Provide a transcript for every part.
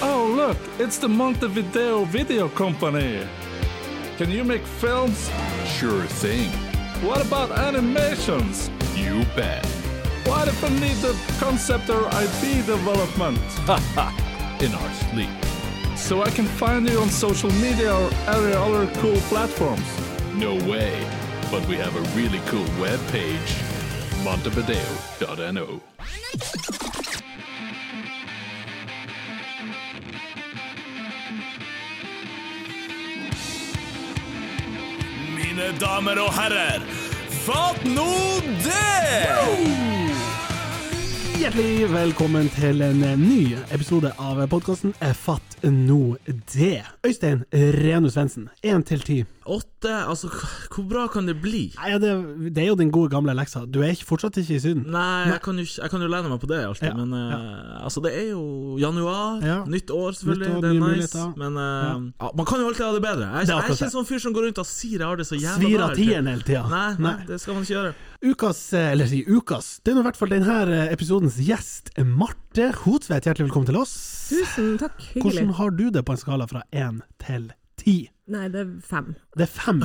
Oh, look, it's the Montevideo Video Company. Can you make films? Sure thing. What about animations? You bet. What if I need the concept or IP development? In our sleep. So I can find you on social media or any other cool platforms. No way. But we have a really cool web page. Montevideo.no. Mine damer og herrer, fatt nå det! Hjertelig velkommen til en ny episode av podkasten Fatt nå det. Øystein Renu Svendsen, én til ti. Åtte? Altså, k- hvor bra kan det bli? Nei, ja, Det, det er jo den gode gamle leksa. Du er ikke, fortsatt ikke i Syden. Nei, jeg kan jo, ikke- jeg kan jo lene meg på det alltid, Ja, men eh, altså, det er jo januar, Ja. nytt år selvfølgelig, Nytt år, det nye er nice, muligheter. men eh, ja. man kan jo alltid ha det bedre. Det Jeg, er jeg er akkurat ikke en sånn fyr som går rundt og sier jeg har det så jævla Svir bra av hele tiden. tieren hele tida. Nei, nei, det skal man ikke gjøre. Ukas, eh, eller si ukas, det er nå i hvert fall denne eh, episodens gjest, Marte Hotvedt. Hjertelig velkommen til oss. Tusen takk, hyggelig. Hvordan har du det på en skala fra én til ti? Nei, det er fem. Det er fem.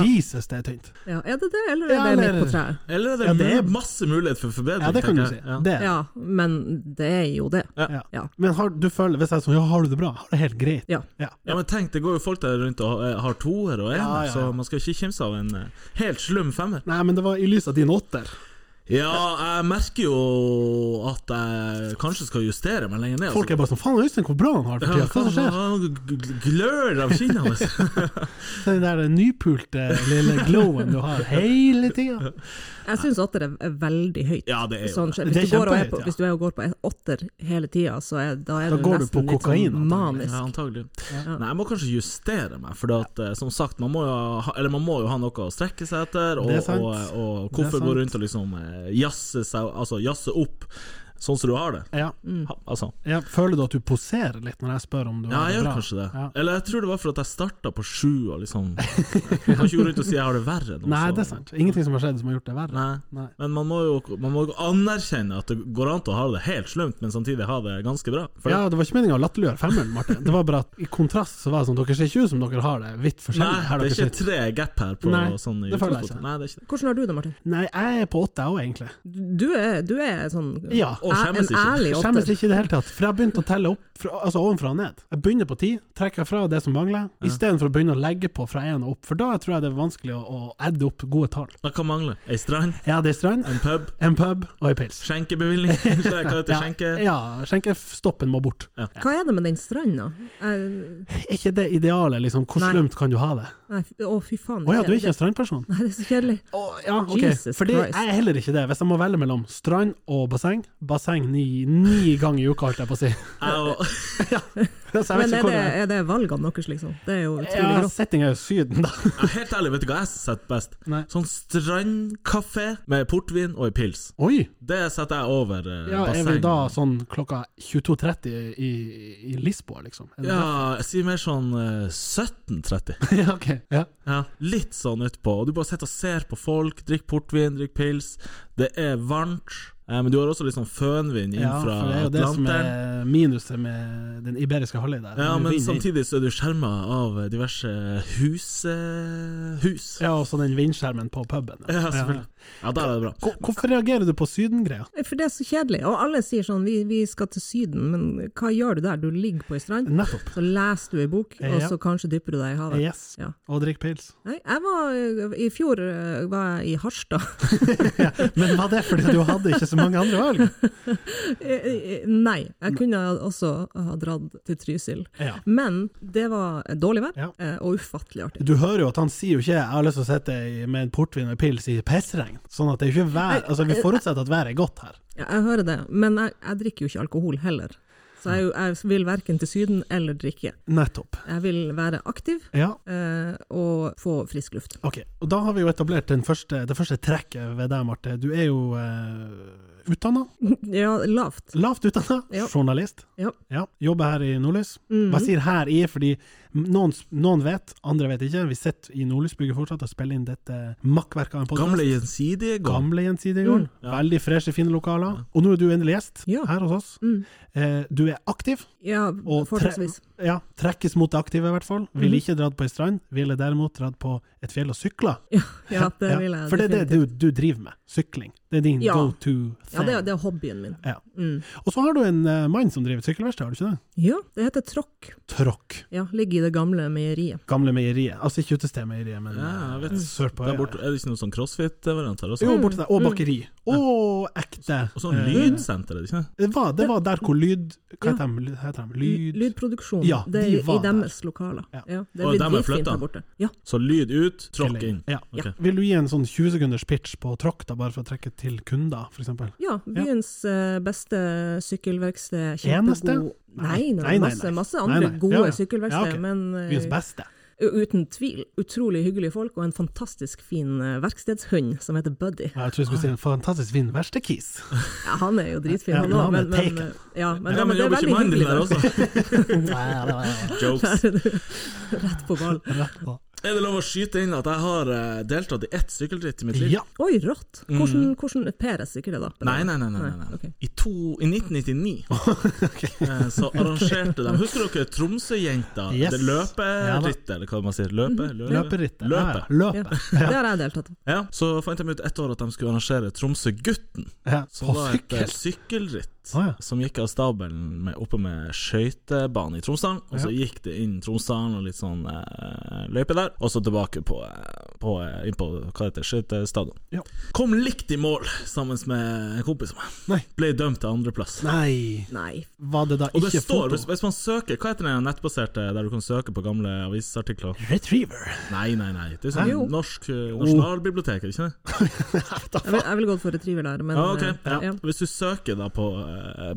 Jesus, det er tynt. Ja, er det det, eller er Ja, det eller- midt på treet? Eller er det, Ja, det er- masse mulighet for forbedring? Ja, det kan du tenker si. jeg. Ja. Det. Ja, men det er jo det. Ja. Ja. Men har, du føler, hvis jeg er sånn, ja, har du det bra? Har du det helt greit? Ja. Ja, men tenk, det går jo folk der rundt og eh, har- har toer og ener, Ja, ja, ja. så man skal ikke kimse av en eh, helt slum femmer. Nei, men det var i lys av din åtter. Ja, jeg merker jo at jeg kanskje skal justere meg lenger ned. altså. Folk er bare sånn, faen Øystein, hvor bra han har det for tida. Ja, Hva er det som skjer? han gl- Glør av kinnet hans. Så Den der nypulte lille glowen du har hele tida. Jeg syns åtter er- er veldig høyt. Ja, det er jo Sånn, det. Det er hvis, du går og er kjempehøyt, på, ja. hvis du er og går på åtter hele tida, så er, da er Da du går du nesten på litt kokain, sånn antagelig. Ja, manisk. antagelig. Nei, jeg må kanskje justere meg, for at, eh, som sagt, man må, jo ha, eller man må jo ha noe å strekke seg etter. Og, Det er sant. og, Det er og hvorfor sant. gå rundt og liksom eh, jazze seg Altså jazze opp sånn som du har det? Ja. Ha, altså. Ja, føler du at du poserer litt når jeg spør om du Ja, har jeg det gjør bra? kanskje det. Ja. Eller jeg tror det var for at jeg starta på sju, og liksom Jeg kan ikke gå rundt og si jeg har det verre nå. Nei, så- det er sant. Ingenting som har skjedd som har gjort det verre. Nei. Nei. Men man må jo man må jo anerkjenne at det går an til å ha det helt slemt, men samtidig ha det ganske bra. For Ja, det var ikke meninga å latterliggjøre femmeren, Martin. Det var bare at i kontrast så var det sånn, dere ser ikke ut som dere har det vidt forskjellig. Nei, Her det er dere ikke tre gap her. på Nei, sånn det føler jeg utgangspunktet. ikke. Nei, det er ikke det. Hvordan har du det, Martin? sitter- Nei, jeg er på åtte, jeg òg, egentlig. Du er, du er sånn Ja. Og er- skjemmes en ikke. ærlig Jeg skjemmes åtter. ikke i det hele tatt, for jeg har begynt å telle opp fra, altså ovenfra og ned. Jeg begynner på ti, trekker fra det som mangler, istedenfor å begynne å legge på fra én og opp, for da tror jeg det er vanskelig å, å adde opp gode tall. Da kan mangle ei strand, Ja, det er strand, en pub, en pub og ei pils. skjenkebevilgning Hva heter det? Ja, Skjenke? ja, skjenkestoppen må bort. Hva er det med den stranda? Jeg- Er ikke det idealet, liksom? Hvor Nei. slumt kan du ha det? Nei, fy- å fy faen. Å ja, det- du er ikke en strandperson? Nei, det er så kjedelig. Å, ja, ok. Jesus Fordi jeg Christ. er heller ikke det. Hvis jeg må velge mellom strand og basseng Basseng ni, ni ganger i uka, holdt jeg på å si. Jeg og- Så jeg vet Men ikke er hvor det, det er. er det valgene deres, liksom? Det er jo utrolig Ja, grått. settinga er jo Syden, da. jeg er helt ærlig, vet du hva jeg setter best? Nei. Sånn strandkafé med portvin og ei pils. Oi! Det setter jeg over eh, Ja, er vi basseng. da sånn klokka 22.30 i, i Lisboa, liksom? Er det Ja, jeg sier mer sånn eh, 17.30. det? ja, ok. Ja. Ja, litt sånn utpå. Og du bare sitter og ser på folk, drikker portvin, drikker pils. Det er varmt, eh, men du har også litt sånn fønvind inn ja, fra for det er jo det som Atlanteren. er minuset med den iberiske halvøy der. Ja, Du men vinner inn. samtidig så er du skjerma av diverse hus... eh, hus. Ja, Ja, og så den vindskjermen på puben. selvfølgelig. Ja, der er det bra. Hvor- Hvorfor reagerer du på Syden-greia? For det er så kjedelig. Og alle sier sånn, vi, vi skal til Syden, men hva gjør du der? Du ligger på ei strand, Nettopp. så leser du ei bok, Ja. og så kanskje dypper du deg i havet. Yes. Ja. Og drikke pils. Nei, jeg var, I fjor eh, var jeg i Harstad. Men var det fordi du hadde ikke så mange andre valg? Eh, eh, Nei, jeg kunne også ha dratt til Trysil. Ja. Men det var dårlig vær, Ja. eh, og ufattelig artig. Du hører jo at han sier jo ikke 'jeg har lyst til å sitte i- med en portvin og en pils i pissregn', sånn at det er jo ikke vær Altså, vi forutsetter at været er godt her. Ja, jeg hører det, men jeg, jeg drikker jo ikke alkohol heller. Så jeg, jeg vil verken til Syden eller drikke. Nettopp. Jeg vil være aktiv Ja. eh, og få frisk luft. Ok, og da har vi jo etablert den første, det første trekket ved deg, Marte. Du er jo eh, utdanna, Ja, lavt. lavt utdanna, Ja. journalist. Ja. Mm. Mhm. Jobber her i Nordlys. Hva jeg sier her i, fordi Noen, noen vet, andre vet ikke. Vi sitter i Nordlysbygget fortsatt og spiller inn dette makkverket av en podkast. Gamle gjensidige gang. Gamle Gjensidigegarden. Veldig freshe, fine lokaler. Og nå er du endelig gjest Ja. her hos oss. Mm. Eh, du er aktiv, Ja, og tre forholdsvis. ja, trekkes mot det aktive, i hvert fall. Mhm. Ville ikke dratt på ei strand, ville derimot dratt på et fjell og sykla. Ja, ja, det Ja, vil jeg For det er det definitivt. du, du driver med. Sykling. Det er din Ja. go to thing. Ja, det er, det er hobbyen min. Ja. Mm. Og så har du en eh, mann som driver sykkelverksted, har du ikke det? Ja, det heter tråkk. Tråkk. Ja, ligger i det gamle meieriet. Gamle meieriet. Altså ikke utestedmeieriet, men Ja, eh, jeg vet. sørpå. Der borte, er det ikke noe sånn crossfit-variant her også? Mm, Jo, borte der. Og bakeri. Og ekte Og sånn eh, lydsenter, er det ikke det? Det var, det var der hvor lyd Hva heter Ja. de? Lyd- heter de? Lyd. Lyd... Lydproduksjon. Ja, det de er i var der. deres lokaler. Ja. Ja. det Og er dem er blitt dritfint flytta. der borte. Ja. Så lyd ut, tråkk inn. Ja. Ok. Vil du gi en sånn 20 sekunders pitch på tråkk, da, bare for å trekke til kunder, f.eks.? Ja, byens eh, beste sykkelverksted. Eneste? Kjempegod Nei, Nei, nei, nei, masse, nei. masse Nei, andre nei. gode Ja, ja. sykkelverksted, Ja, ok. men eh, Byens beste. u- uten tvil utrolig hyggelige folk og en fantastisk fin eh, verkstedshund som heter Buddy. Ja, Jeg tror jeg skulle si en fantastisk fin verkstekis. Ja, han er jo dritfin, Ja, han men òg, han er men, men, taken. eh, ja, men, Ja, men men det er jobber ikke veldig mannen din hyggelig. der da. også? Der er du Rett på ball. Er det lov å skyte inn at jeg har eh, deltatt i ett sykkelritt i mitt liv? Ja. Oi, rått! Hvordan, hvordan Per er sikkert det, da? Mm. Nei, nei, nei. nei, nei, nei. ok. I, to, I 1999 eh, så arrangerte de Husker dere Tromsøjenta? Yes. Det Ja da. Mhm. løperittet, eller hva man sier? Løpe? løpe- Løperittet. Løpe. Ja, ja. Løpe. Det har jeg deltatt i. Ja, så fant de ut ett år at de skulle arrangere Tromsøgutten. Ja. Som På var et eh, sykkel! sykkelritt Å, ja. som gikk av stabelen med, oppe med skøytebane i Tromsdalen. Og så gikk det inn Tromsdalen og litt sånn eh, løype der, og så tilbake på, eh, på, eh, inn på hva heter det, skøytestadion. Ja. Kom likt i mål sammen med en kompis av meg. Nei. Ble dømt til andreplass. Nei, Nei. var det da Og det ikke står, hvis, foto? hvis man søker Hva heter den nettbaserte der du kan søke på gamle avisartikler? Retriever. Nei, nei, nei. Det er Hæ? Jo. sånn norsk eh, nasjonalbibliotek, er det ikke det? Jeg vil, jeg vil gå for retriever der, men Ja, ok. eh, Ja. ja. Hvis du søker da på eh,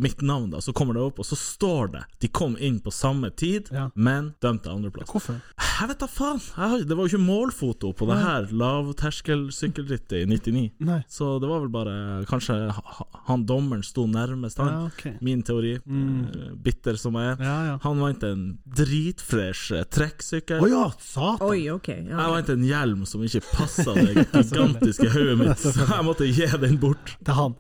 mitt navn, da, så kommer det opp, og så står det De kom inn på samme tid, Ja. men dømte andreplass. Hvorfor? Jeg vet da faen! Jeg, har- det var jo ikke målfoto på det her lavterskelsykkelrittet i 99. Nei. Så det var vel bare Kanskje ha- han dommeren sto nærmest han. Ja, ok. Min teori, eh, bitter som jeg er. Ja, ja. Han vant en dritfresh eh, trekksykkel. Å ja, satan! Oi, ok. Ja. Jeg vant en hjelm som ikke passa det gigantiske hodet mitt, så jeg måtte gi den bort. Det er han.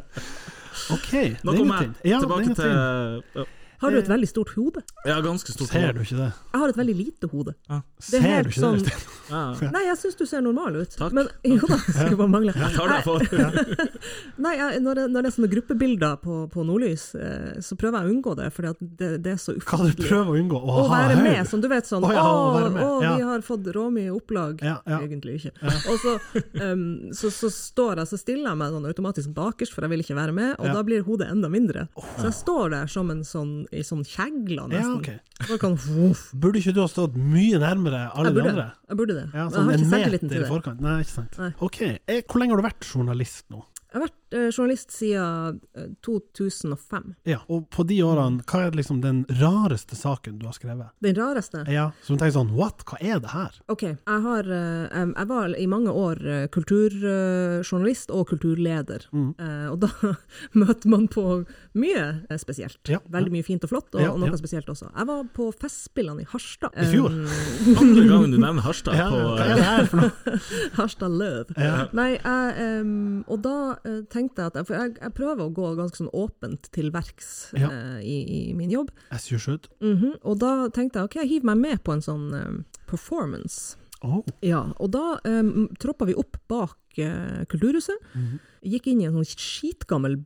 Helvete. OK, Nå det er kommer jeg ingenting. Ja, det er tilbake til ingenting. ja, Har du et veldig stort hode? Jeg har ganske stort Ser hår. du ikke det? Jeg har et veldig lite hode. Det er Ser helt du ikke sånn det? Ja. Nei, jeg syns du ser normal ut. Takk. Men jo da, skulle bare mangle. Tar deg for. Nei, jeg, når, det, når det er sånne gruppebilder på, på Nordlys, eh, så prøver jeg å unngå det, for det, det er så Hva du ufattelig prøver å unngå? Å, å ha være haug. med, som du vet sånn Å, Å ja, å være med, å, ja. vi har fått råmye opplag. Ja, ja. Egentlig ikke. Og så, em, så, så står jeg, så stiller jeg meg sånn automatisk bakerst, for jeg vil ikke være med, og Ja. da blir hodet enda mindre. Så jeg står der som en sånn, i sånn kjegle, Ja, nesten. ok. Så kan, voff. Burde ikke du ha stått mye nærmere alle de Jeg burde, andre? jeg burde det. Ja, Men sånn jeg en har ikke meter selvtilliten i til det. forkant. Nei, ikke sant. Nei. Ok, eh, Hvor lenge har du vært journalist nå? Jeg har vært eh, journalist siden eh, 2005. Ja, Og på de årene, hva er liksom den rareste saken du har skrevet? Den rareste? Ja, Som tenker sånn What, hva er det her? Ok, jeg, har, eh, em, jeg var i mange år eh, kulturjournalist og kulturleder, Mm. Eh, og da møter man på mye eh, spesielt. Ja, Veldig mye fint og flott, og, Ja, og noe ja. spesielt også. Jeg var på Festspillene i Harstad. I fjor? Andre gangen du nevner Harstad Ja, på hva eh, er det her for noe? Harstad Løv. Nei, jeg, em, og da eh, tenkte jeg at jeg, For jeg, jeg prøver å gå ganske sånn åpent til verks Ja. eh, i, i min jobb. As you should. Mhm, Og da tenkte jeg ok, jeg hiver meg med på en sånn em, performance. Oh. Ja, og da um, troppa vi opp bak eh, Kulturhuset. Mhm. Gikk inn i en sånn skitgammel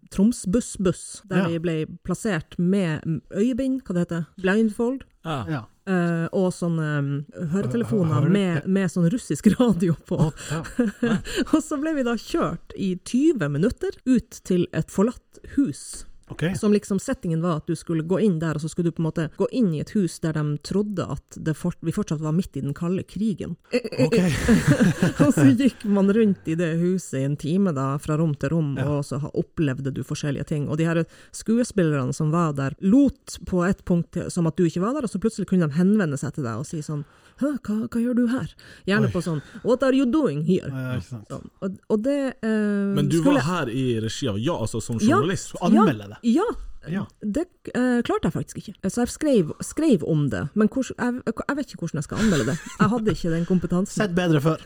Troms-buss-buss, der Ja. vi ble plassert med mm, øyebind, hva det heter, blindfold, ja. Ja. eh, og sånne um, Hø- hø- høretelefoner hører- med, med sånn russisk radio på. ja. og så ble vi da kjørt i 20 minutter ut til et forlatt hus. Ok. Som liksom settingen var at du skulle gå inn der, og så skulle du på en måte gå inn i et hus der de trodde at det fort, vi fortsatt var midt i den kalde krigen. ok. Og så gikk man rundt i det huset i en time, da, fra rom til rom, og så ha- opplevde du forskjellige ting. Og de her skuespillerne som var der, lot på et punkt til- som at du ikke var der, og så plutselig kunne de henvende seg til deg og si sånn Hæ, hva, hva gjør du her? Gjerne på sånn What are you doing here? Ja, ikke sant. Sånn. Og, og det eh, Men du skulle- var her i regi av Ja, altså som journalist. Anmelde det. ja, Ja. Det eh, klarte jeg faktisk ikke. Så jeg skrev, skrev om det, men hvordan- jeg, jeg vet ikke hvordan jeg skal anmelde det. Jeg hadde ikke den kompetansen. Sett bedre før.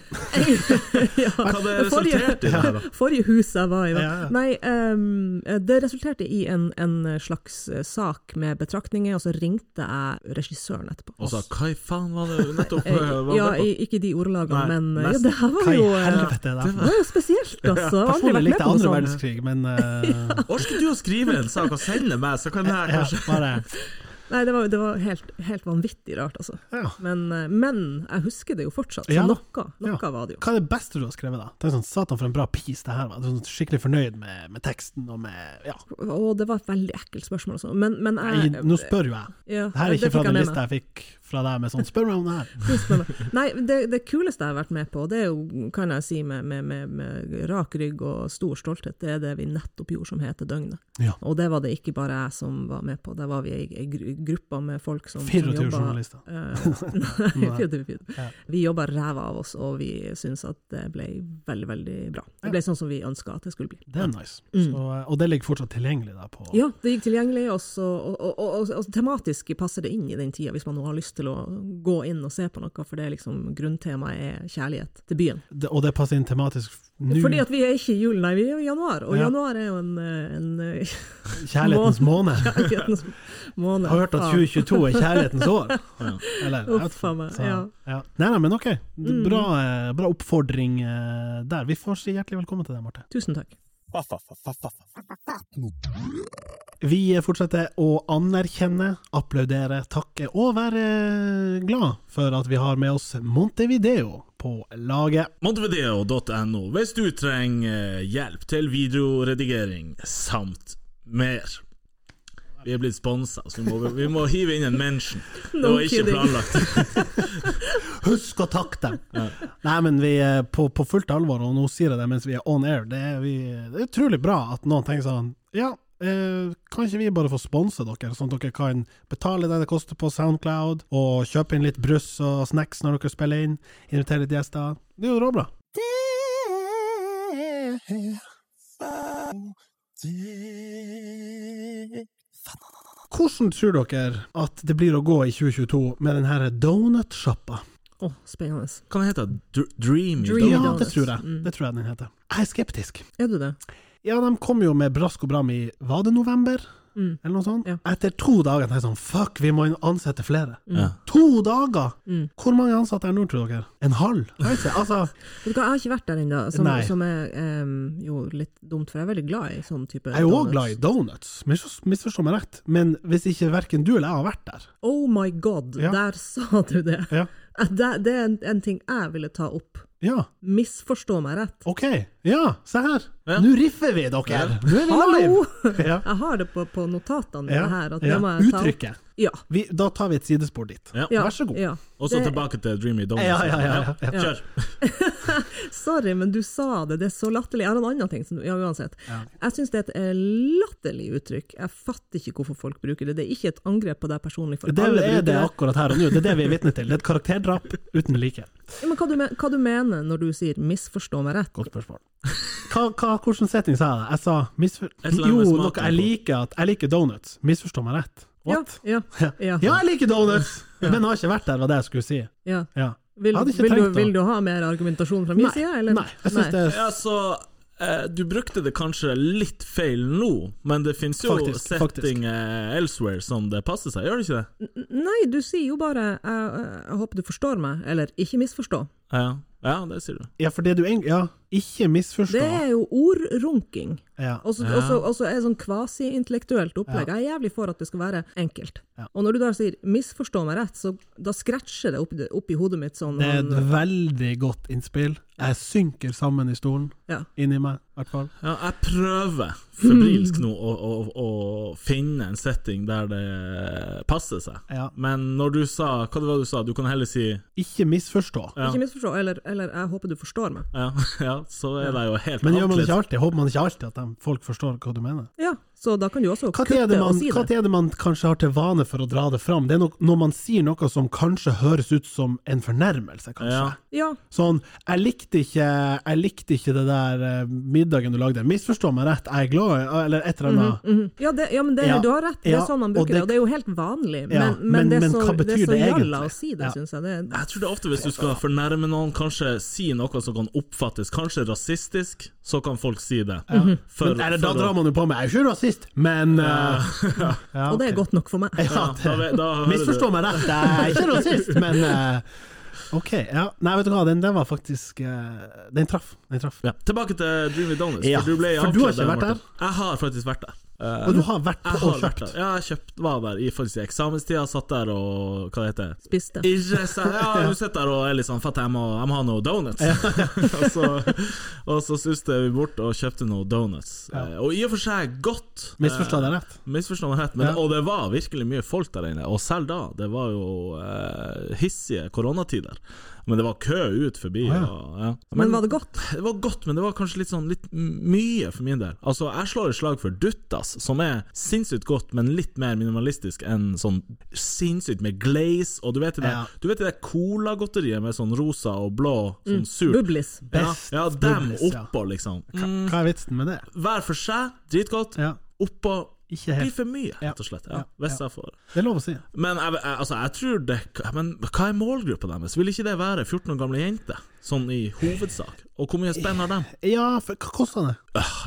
ja, Hva det det forrige- resulterte i det her, da? Forrige hus jeg var i. da. Ja, ja. Nei, ehm, det resulterte i en, en slags eh, sak med betraktninger, og så ringte jeg regissøren etterpå. Og sa hva i faen var det nettopp Eh, eh, var ja, det på? i- ikke de ordlagene, Nei, men eh, ja, nesten. det her var Hva i jo eh, helvete er det? Det var jo spesielt, altså. Jeg har aldri Personlig vært med likte på sånn. jeg andre noe sånt. verdenskrig, men eh, Orker du å skrive en sak og sende meg, så kan jeg ja, kanskje bare Nei, det var, det var helt, helt vanvittig rart, altså. ja. Men, eh, men jeg husker det jo fortsatt, så Ja da. noe, noe Ja. var det jo. Hva er det beste du har skrevet, da? Det er sånn, Satan, for en bra piece det her var. Du er sånn skikkelig fornøyd med, med teksten og med Ja. Og det var et veldig ekkelt spørsmål, altså. Men, men jeg Jeg, nå spør jo jeg. ja, Det her er ikke det fra fikk jeg den med lista jeg fikk fra deg med sånn Spør meg om det her. meg. Spør meg. Nei, det, det kuleste jeg har vært med på, det er jo, kan jeg si med, med, med, med rak rygg og stor stolthet, det er det vi nettopp gjorde som heter Døgnet. Ja. Og det var det ikke bare jeg som var med på, der var vi ei ei gru- gruppe med folk som, som 24 jobba journalister. Eh, Nei, Nei. fint, fint. Ja. Vi jobba ræva av oss, og vi syns at det ble veldig, veldig bra. Det ble sånn som vi ønska at det skulle bli. Det er nice. Mm. Så, eh, og det ligger fortsatt tilgjengelig da på Ja, det gikk tilgjengelig, og, så, og, og, og, og, og tematisk passer det inn i den tida, hvis man nå har lyst til å gå inn og se på noe, for det er liksom grunntemaet er kjærlighet til byen. det, Og det passer inn tematisk nå. Fordi at vi er ikke i jul, nei, vi er jo i januar, og Ja. januar er jo en, eh, en eh, Kjærlighetens måned. kjærlighetens måned. Jeg har hørt at Ah. 2022 er kjærlighetens år. Eller, jeg Uff, vet ikke. faen meg, Så, ja. Mm. ja. Nei, nei, men ok. Det er Bra, eh, bra oppfordring eh, der. Vi får si hjertelig velkommen til deg, Marte. Tusen takk. Vi eh, fortsetter å anerkjenne, applaudere, takke og være eh, glad for at vi har med oss Montevideo på laget. Montevideo.no hvis du trenger eh, hjelp til videoredigering samt mer. Vi er blitt sponsa, så vi må, vi må hive inn en mention. Det No var ikke kidding. planlagt. Husk å takke dem! Nei, men vi er på, på fullt alvor, og nå sier jeg det mens vi er on air, det er, vi, det er utrolig bra at noen tenker sånn Ja, eh, kan ikke vi bare få sponse dere, sånn at dere kan betale det det koster på Soundcloud, og kjøpe inn litt brus og snacks når dere spiller inn, invitere litt gjester. Det er jo råbra. Hvordan tror dere at det blir å gå i 2022 med den her donutsjappa? Å, spennende. Hva heter det? Dr- Dreamy? Dreamy. Ja, donuts. det tror jeg. Mm. Det tror jeg den heter. Jeg er skeptisk. Er du det? Ja, de kom jo med brask og bram i Var det november? Mm. Eller noe sånt? Ja. Etter to dager tenkte jeg sånn Fuck, vi må ansette flere. Ja. To dager! Mm. Hvor mange ansatte er nå, tror dere? En halv? Jeg vet ikke. Altså, Vet du hva, Jeg har ikke vært der ennå, som, Nei. som er em, jo litt dumt, for jeg er veldig glad i sånn type jeg er jo òg glad i donuts, Mis- misforstå meg rett, men hvis ikke verken du eller jeg har vært der Oh my god, Ja. der sa du det! Ja. At Det, det er en, en ting jeg ville ta opp. Ja, Misforstå meg rett. OK. Ja, se her. Ja. Nå riffer vi, dere! Nå er vi Hallo! live! Ja. Jeg har det på, på notatene Ja. mine her. At det Ja. må jeg ta opp. Uttrykket. Ja. Vi, da tar vi et sidespor dit. Ja. ja. Vær så god. Ja. Og så Det- tilbake til Dreamy Donuts. Ja, ja, ja, ja. Kjør. Sorry, men du sa det. Det er så latterlig. Jeg har en annen ting som Ja, uansett. Jeg syns det er et eh, latterlig uttrykk. Jeg fatter ikke hvorfor folk bruker det. Det er ikke et angrep på deg personlig, for Det alle er bruker det det. akkurat her og nå. Det er det vi er vitne til. Det er et karakterdrap uten like. Ja, Men hva du, men- hva du mener når du sier 'misforstå meg rett'? Godt spørsmål. Hva, hva, hvordan setting sa jeg det? Jeg sa misfor... Et eller annet med Jo, smaken noe jeg på. liker at Jeg liker donuts. Misforstå meg rett. What? Ja, ja, ja. Ja, jeg liker donuts, men har ikke vært der, var det jeg skulle si. ja. Ja. Vil, Jeg hadde ikke vil, du, trengt å- vil du ha mer argumentasjon fra min Nei, side? Eller? Nei, jeg syns det er Ja, så eh, du brukte det kanskje litt feil nå, men det fins jo Faktisk, faktisk. setting eh, elsewhere som det passer seg, gjør det ikke det? Nei, du sier jo bare jeg, jeg- 'jeg håper du forstår meg', eller 'ikke misforstå'. Ja, ja det sier du. Ja, for det du egentlig Ja, ikke misforstå. Det er jo ordrunking. Ja. Og så også- også er det sånn kvasi-intellektuelt opplegg. Jeg er jævlig for at det skal være enkelt. Og når du da sier 'misforstå meg rett', så da scratcher det opp, i- opp i hodet mitt sånn. Det er han- et veldig godt innspill. Jeg synker sammen i stolen. ja. Inni meg, i hvert fall. Ja, jeg prøver febrilsk Mm. nå å, å, å finne en setting der det passer seg. Ja. Men når du sa Hva det var du sa? Du kan heller si Ikke misforstå. Ja. Ikke misforstå, eller, eller 'jeg håper du forstår meg'. ja, ja så er det jo helt Men gjør man annerledes. ikke alltid? Håper man ikke alltid at de, folk forstår hva du mener? Ja, Så da kan du også Hva kutte er, det man, og si hva det. er det man kanskje har til vane for å dra det fram? Det er nok, når man sier noe som kanskje høres ut som en fornærmelse, kanskje. Ja. Ja, Sånn, jeg likte, ikke, jeg likte ikke det der eh, middagen du lagde. Misforstå meg rett, jeg er glad i Eller et eller annet. mhm. ja, det, ja men det, Ja. du har rett, det er Ja, sånn man og bruker det, det- og det er jo helt vanlig. Men, Ja, men, men- det er men så, hva det er betyr så det jalla egentlig? å si det, Ja. synes jeg. Det, Jeg tror det er ofte hvis du skal fornærme noen, kanskje si noe som kan oppfattes kanskje rasistisk, så kan folk si det. For, Men, eller, da for å- drar man jo på meg. Jeg er jo ikke rasist, men eh, ja, og det er godt nok for meg. ja, Ja, da det, vet- da hører du. Misforstå meg rett, jeg er ikke rasist, men eh, OK. Ja. Nei, vet du hva, den, den var faktisk eh, Den traff. Den traff. Ja. Tilbake til Dreamy Donuts, Ja, for du ble for du har avkledd ikke vært Martin. Jeg har faktisk vært der. Eh, Og du har vært jeg på har og vært kjørt. der. Ja, jeg kjøpt, var der i faktisk i eksamenstida, satt der og hva det heter Spiste. Irre seg. Ja, du sitter der og er litt sånn fett, jeg må, jeg må ha noe donuts. og, så, og så suste vi bort og kjøpte noe donuts. Eh, Og i og for seg godt. Misforstå deg Eh, rett. Misforstå meg rett, men, Ja. og det var virkelig mye folk der inne. Og selv da, det var jo eh, hissige koronatider. Men det var kø ut forbi. Å, ja. Og, ja. Men var det godt? Det var godt, men det var kanskje litt sånn litt m- mye for min del. Altså, jeg slår et slag for Duttas, som er sinnssykt godt, men litt mer minimalistisk enn sånn sinnssykt med glaze, og du vet det, Ja. du vet det der colagodteriet med sånn rosa og blå, sånn surt. Bublis. Ja, Mm. Best ja, dem bubbles, ja. oppå, liksom. Mm, Hva er vitsen med det? hver for seg, dritgodt. Ja. Oppå Ikke blir helt. for mye, Ja. rett og slett. Ja. Ja, hvis Ja. jeg får Det er lov å si. Men jeg, jeg, altså, jeg tror det Men hva er målgruppa deres? Vil ikke det være 14 år gamle jenter, sånn i hovedsak? Og hvor mye spenn har dem? Ja, for, hva kosta det?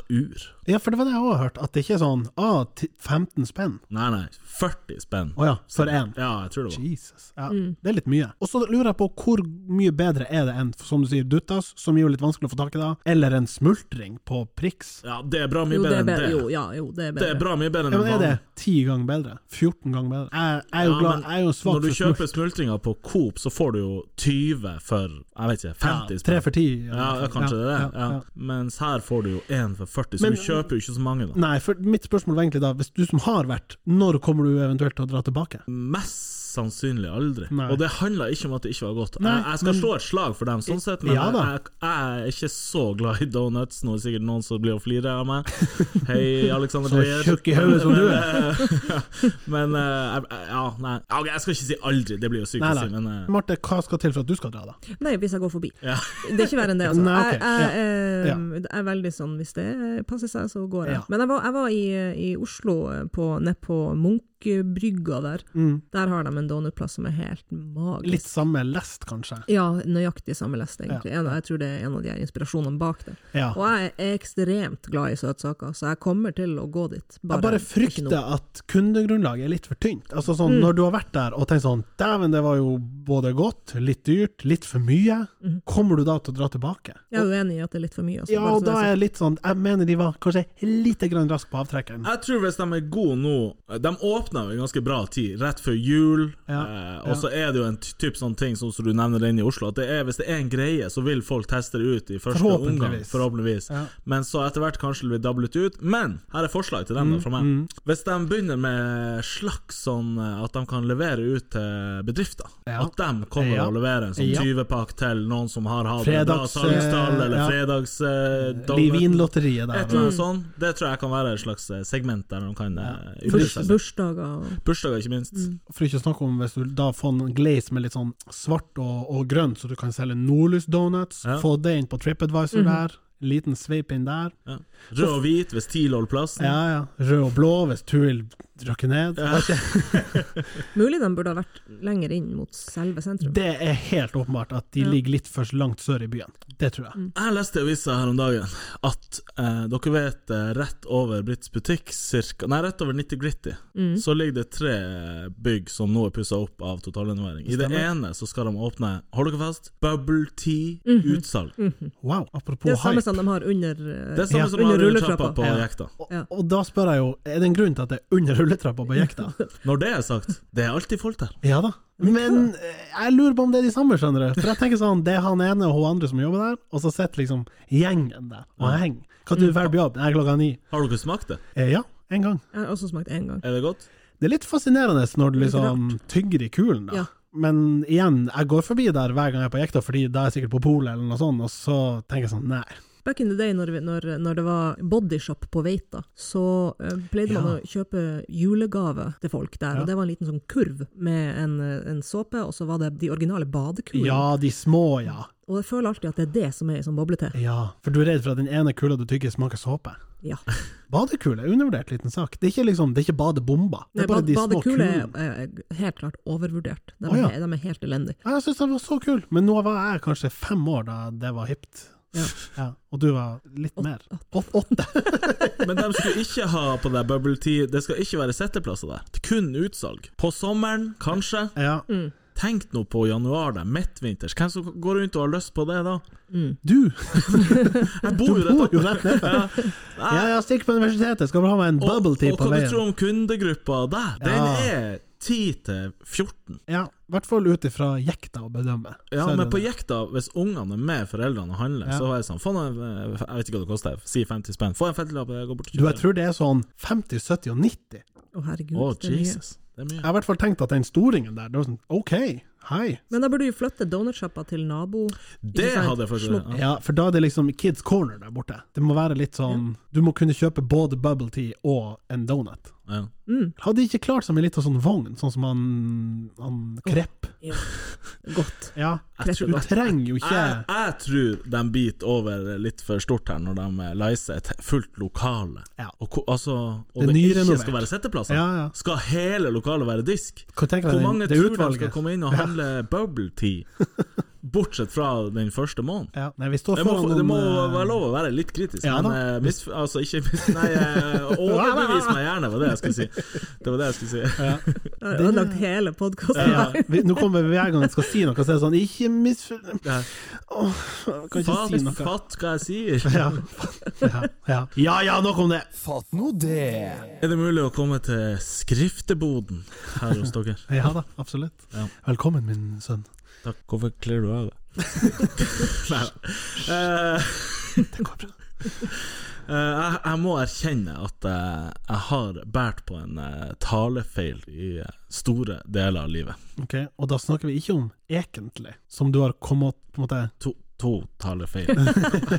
Ur. Ja, for det var det jeg òg hørt, at det ikke er sånn ah, ti- 15 spenn. Nei, nei, 40 spenn. Å ja, for én. Ja, jeg tror det var. Jesus. Ja, Det er litt mye. Og så lurer jeg på hvor mye bedre er det enn, som du sier, Duttas, som er jo litt vanskelig å få tak i da, eller en smultring på Prix? Ja, det er bra mye Jo, det bedre er enn det. bedre. Jo, ja, jo, det er Det er bedre. bra mye bedre enn Ja, men en er det vanlig. ti ganger bedre? 14 ganger bedre? Jeg, jeg er jo Ja, glad, men jeg er jo svak Når du for smultring. kjøper smultringer på Coop, så får du jo 20 for jeg vet ikke, 50 Ja, tre for ti. eller Ja, noe ja, sånt. kanskje det er det. Ja. ja. Mens her får du jo én for 40, så Men- du kjøper jo ikke så mange, da. Nei, for mitt spørsmål var egentlig da, hvis du som har vært, når kommer du eventuelt til å dra tilbake? Mest sannsynlig aldri. Nei. Og det handla ikke om at det ikke var godt. Nei, jeg, jeg skal men- slå et slag for dem, sånn sett, men Ja da. jeg, jeg er ikke så glad i donuts. Nå er det sikkert noen som blir å flire av meg. Hei, Alexander Så Dreyer. tjukk i hodet som du Men eh, jeg- jeg- ja, nei. Ja, ok, jeg skal ikke si aldri, det blir jo sykt Nei, å si, nei. men eh, Marte, hva skal til for at du skal dra, da? Nei, hvis jeg går forbi. Ja. Det er ikke verre enn det, altså. Nei, ok. jeg, jeg, eh, Ja. jeg er veldig sånn hvis det passer seg, så går jeg. Ja. Men jeg var, jeg var i, i Oslo, eh, på, ned på Munkbrygga der. Der har de en donutplass som er helt magisk. Mm. Litt samme lest, kanskje? Ja, nøyaktig samme lest, egentlig. En, jeg tror det er en av de her inspirasjonene bak det. Ja. Og jeg er ekstremt glad i søtsaker, så jeg kommer til å gå dit. Jeg bare ikke noe. Mm. frykter at kundegrunnlaget er litt for tynt. Altså sånn, Når du har vært der og tenkt sånn Dæven, det var jo både godt, litt dyrt, litt for mye. Kommer du da til å dra tilbake? Jeg er uenig i at Mm. det er litt for mye. Altså, Ja, bare og så da det er jeg litt sånn Jeg mener de var kanskje lite grann rask på avtrekkeren. Jeg tror hvis de er gode nå De åpna jo en ganske bra tid, rett før jul. Ja, eh, og så er det jo en ty- typ sånn ting sånn som du nevner inne i Oslo, at det er, hvis det er en greie, så vil folk teste det ut i første Forhåpentligvis. omgang. Forhåpentligvis. Ja. Men så etter hvert kanskje det blir dablet ut. Men her er forslag til Mm, dem da, fra meg. Hvis de begynner med slags sånn eh, at de kan levere ut til bedrifter, Ja. at de kommer Ja. og leverer en sånn Ja. 20-pakk til noen som har hatt Fredags, en bra salgstall, eh, eller ja. fredags... Eh, Livinlotteriet der. et eller annet sånt. Det tror jeg kan være et slags eh, segment der de kan ja. Burs, seg. bursdager og mm. Bursdager, ikke minst. For ikke å snakke om hvis du da får en glaze med litt sånn svart og, og grønt, så du kan selge Nordlys donuts, Ja. få det inn på TripAdvisor Mhm. der, liten sveip inn der. Ja. Rød og hvit hvis TIL holder Sånn. plassen. Ja, ja. Rød og blå hvis Tuil røkker ned. Mulig de burde ha vært lenger inn mot selve sentrum. Det er helt åpenbart at de ligger litt for langt sør i byen. Det tror jeg. Jeg leste i avisa her om dagen at eh, dere vet eh, rett over Britts butikk, cirka, nei, rett over 90 Gritty, Mm. Mm. så ligger det tre eh, bygg som nå er pussa opp av totalrenovering. I det ene så skal de åpne, hold dere fast, Bubble Mhm. Tea-utsalg. Wow. Apropos Mhm. Det er hype. samme som de har under eh, Det er samme Ja. som har Under rulletrappa rulletrappa. på Ja. jekta. Og, Ja. og da spør jeg jo, er det en grunn til at det er under rulletrappa på jekta? Når det er sagt, det er alltid folk der. Ja da. Men eh, jeg lurer på om det er de samme, skjønner du. For jeg tenker sånn, det er han ene og hun andre som jobber der, og så sitter liksom gjengen der og henger. Hva du velger på jobb? Jeg er klokka ni. Har dere smakt det? Eh, ja, en gang. Jeg har også smakt én gang. Er det godt? Det er litt fascinerende når du Litt liksom tygger i kulen, da. Ja. Men igjen, jeg går forbi der hver gang jeg er på jekta, fordi da er jeg sikkert på polet eller noe sånt, og så tenker jeg sånn, nei, Back in the day, når, vi, når, når det var bodyshop på Veita, så eh, pleide man å kjøpe julegave til folk der. Og det var en liten sånn kurv med en, eh, en såpe, og så var det de originale badekulene. Ja, de små, ja. Og jeg føler alltid at det er det som er i sånn boblete. Ja, For du er redd for at den ene kula du tygger, smaker såpe? Ja. Badekule er undervurdert liten sak. Det er ikke liksom, det er ikke badebomber. Det Nei, er bare bad- de små badekule kulene. er, er helt klart overvurdert. De, Å, ja. er, de er helt elendige. Ja, Jeg syns den var så kul, men nå var jeg kanskje fem år da det var hipt. Ja. og du var litt mer. Åt- Åtte. Men de skulle ikke ha på det bubble tea. Det skal ikke være sitteplasser der. Det er kun utsalg. På sommeren, kanskje. Ja. Tenk nå på januar, da. Midtvinters. Hvem som går rundt og har lyst på det da? Mm. Du Jeg bor Du bor jo rett jo oppe. rett nede. Ja, ja, stikk på universitetet, skal bare ha meg en Og, bubble og tea på hva du tror veien. om kundegruppa der? Den Ja. er 10 til 14. Ja, I hvert fall ut ifra jekta å bedømme. Ja, Så er det men på det. jekta, hvis ungene er med foreldrene og handler, Ja. så er det sånn Få en, jeg vet ikke hva det koster, si 50 spenn. Få en 50-lapp, jeg går bort og Du, jeg kjøper. tror det er sånn 50, 70 og 90. Å, herregud. Å, det er mye. Jesus. Det er Jeg mye. har i hvert fall tenkt at den storingen der, det var sånn OK, hei. Men da burde vi flytte donutsjappa til nabo. Det Ikke sant? hadde jeg faktisk Slupp. ja. Ja, for da er det liksom Kids Corner der borte. Det må være litt sånn Du må kunne kjøpe både bubble tea og en donut. Ja. Hadde ikke klart seg med litt av sånn vogn, sånn som han, han Krepp. Godt. Ja, Jeg tror- du trenger jo ikke Jeg, jeg tror de biter over litt for stort her når de eh, leiser et fullt lokale. Ja. Og, ko- altså, Det og er det, ikke nyrenovert. skal være sitteplasser. Ja, ja. Skal hele lokalet være disk? Hva tenker jeg, Hvor det- mange det tror de utvalget? skal komme inn og handle bubble tea? Bortsett fra den første måneden. ja, Nei, vi står Det må, foran det må noen, eh, være lov å være litt kritisk, Ja, men eh, mis, altså ikke mis, Nei, eh, overbevis meg gjerne, var det jeg skulle si. Det var det jeg skulle si. Jeg har ødelagt hele podkasten ja, her. vi, Nå kommer vi hver gang jeg skal si noe, så er det sånn Ikke misforstå Ja. Kan ikke Fatt, si noe. fatt hva jeg sier. Ja, ja, ja. ja ja, nok om det! Fatt nå det. Er det mulig å komme til skrifteboden her hos dere? Ja da, absolutt. Ja. Velkommen, min sønn. Takk. Hvorfor kler du av deg? Nei da. Eh, Det går bra. jeg, jeg må erkjenne at eh, jeg har båret på en eh, talefeil i eh, store deler av livet. Ok, Og da snakker vi ikke om egentlig, som du har kommet på en måte To, to talefeil.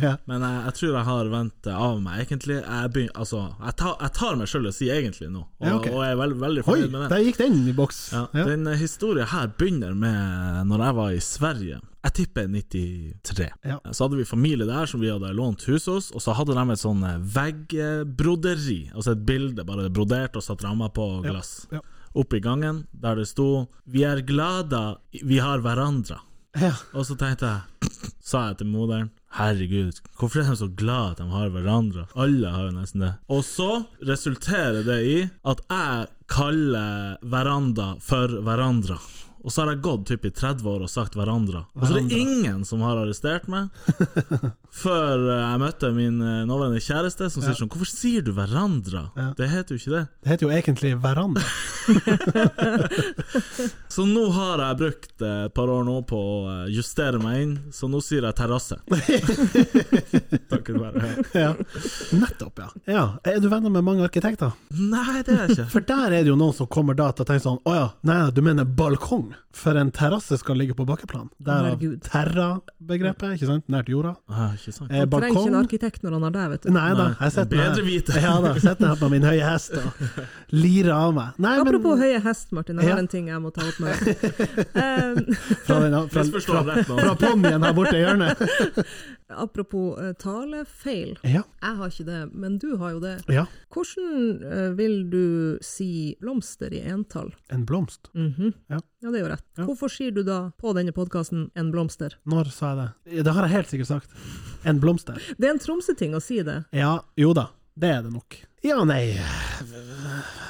Ja. Men jeg, jeg tror jeg har vendt det av meg, egentlig. Jeg, begyn, altså, jeg, tar, jeg tar meg sjøl og sier egentlig nå, og, Ja, ok. og jeg er veld, veldig Oi, fornøyd med det. der gikk den i boks! Ja, Ja. Den eh, historien her begynner med Når jeg var i Sverige. Jeg tipper 93. Ja. Så hadde vi familie der som vi hadde lånt hus hos, og så hadde de et sånn eh, veggbroderi. Altså et bilde bare brodert og satt rammer på glass. ja. Oppe i gangen der det sto 'Vi er glada vi har hverandre'. Ja. Og så tenkte jeg Sa jeg til moderen Herregud, hvorfor er de så glad at de har hverandre? Alle har jo nesten det. Og så resulterer det i at jeg kaller veranda for hverandre. Og så har jeg gått typ i 30 år og sagt hverandre. Og så er det ingen som har arrestert meg. Før jeg møtte min eh, nåværende kjæreste, som sier sånn Hvorfor sier du hverandre? Det heter jo ikke det. Det heter jo egentlig veranda. Så nå har jeg brukt eh, et par år nå på å eh, justere meg inn, så nå sier jeg terrasse. Takket være det. Ja. Nettopp, ja. ja. Er du venner med mange arkitekter? Nei, det er jeg ikke. For der er det jo noen som kommer da til å tenke sånn Å ja, nei, du mener balkong? For en terrasse skal ligge på bakkeplan. Derav Herregud. terra-begrepet, ikke sant? Nært jorda. Ah, ikke sant. Eh, Han trenger ikke en balkong arkitekt når han har det, vet du. Nei da, Nei, jeg setter bedre vite. ja, da, jeg setter meg her på min høye hest og lirer av meg. Nei, Apropos men høye hest, Martin. Jeg Ja. har en ting jeg må ta opp med deg. Eh, fra, den, fra, Misforstår fra, rett nå. fra ponnien her borte i hjørnet. apropos eh, talefeil. Ja, Jeg har ikke det, men du har jo det. ja. Hvordan eh, vil du si blomster i entall? En blomst. Ja, det er jo rett. Hvorfor sier du da på denne podkasten 'en blomster'? Når sa jeg det? Det har jeg helt sikkert sagt. En blomster. Det er en Tromsø-ting å si det. Ja, jo da. Det er det nok. Ja, nei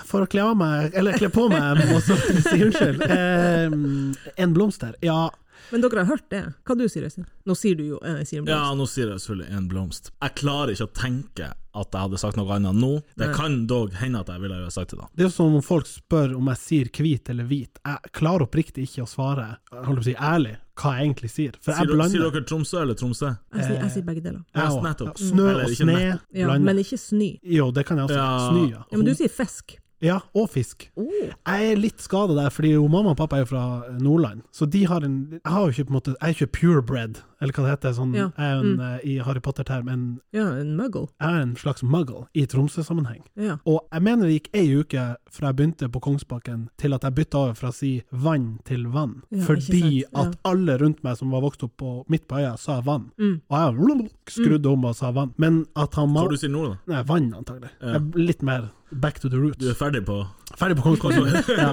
For å kle av meg Eller kle på meg, og så si unnskyld. Eh, en blomster. Ja. Men dere har hørt det? Hva du sier Øystein? Nå sier du jo eh, jeg sier en Ja, blomst. nå sier jeg selvfølgelig en blomst. Jeg klarer ikke å tenke at jeg hadde sagt noe annet nå. Det kan dog hende at jeg ville ha sagt det da. Det er jo som om folk spør om jeg sier hvit eller hvit. Jeg klarer oppriktig ikke å svare jeg holdt på å si ærlig hva jeg egentlig sier. For Sier, jeg dere- sier blander. dere Tromsø eller Tromsø? Jeg, sier, jeg sier begge deler. Eh, Jeg Ja, også. nettopp. Snø Eller og ikke sne. nett. Ja, blander. men ikke sny. Jo, det kan jeg også. Ja. Altså, Snø, Ja, men du ja. sier fisk. ja. Og fisk. Jeg er litt eh, skada der, fordi jo, mamma og pappa er jo fra Nordland, så de har en Jeg har jo ikke på en måte Jeg er ikke purebred eller hva det heter. Sånn, Ja, mm. Jeg er jo en, eh, i Harry Potter-term en, Ja, en muggle. jeg er en slags muggle i Tromsø-sammenheng. Ja. Og jeg mener det gikk ei uke fra jeg begynte på Kongsbakken til at jeg bytta over fra å si vann til vann, Ja, fordi ikke sant, ja. Mm. at alle rundt meg som var vokst opp på, midt på øya, sa vann. Og jeg blub, skrudde om og sa vann. Men at han Hva mal... er det du sier nå, da? Nei, vann, antagelig. Ja. Jeg er Litt mer back to the roots. Du er ferdig på Ferdig på Kongsbakken. ja.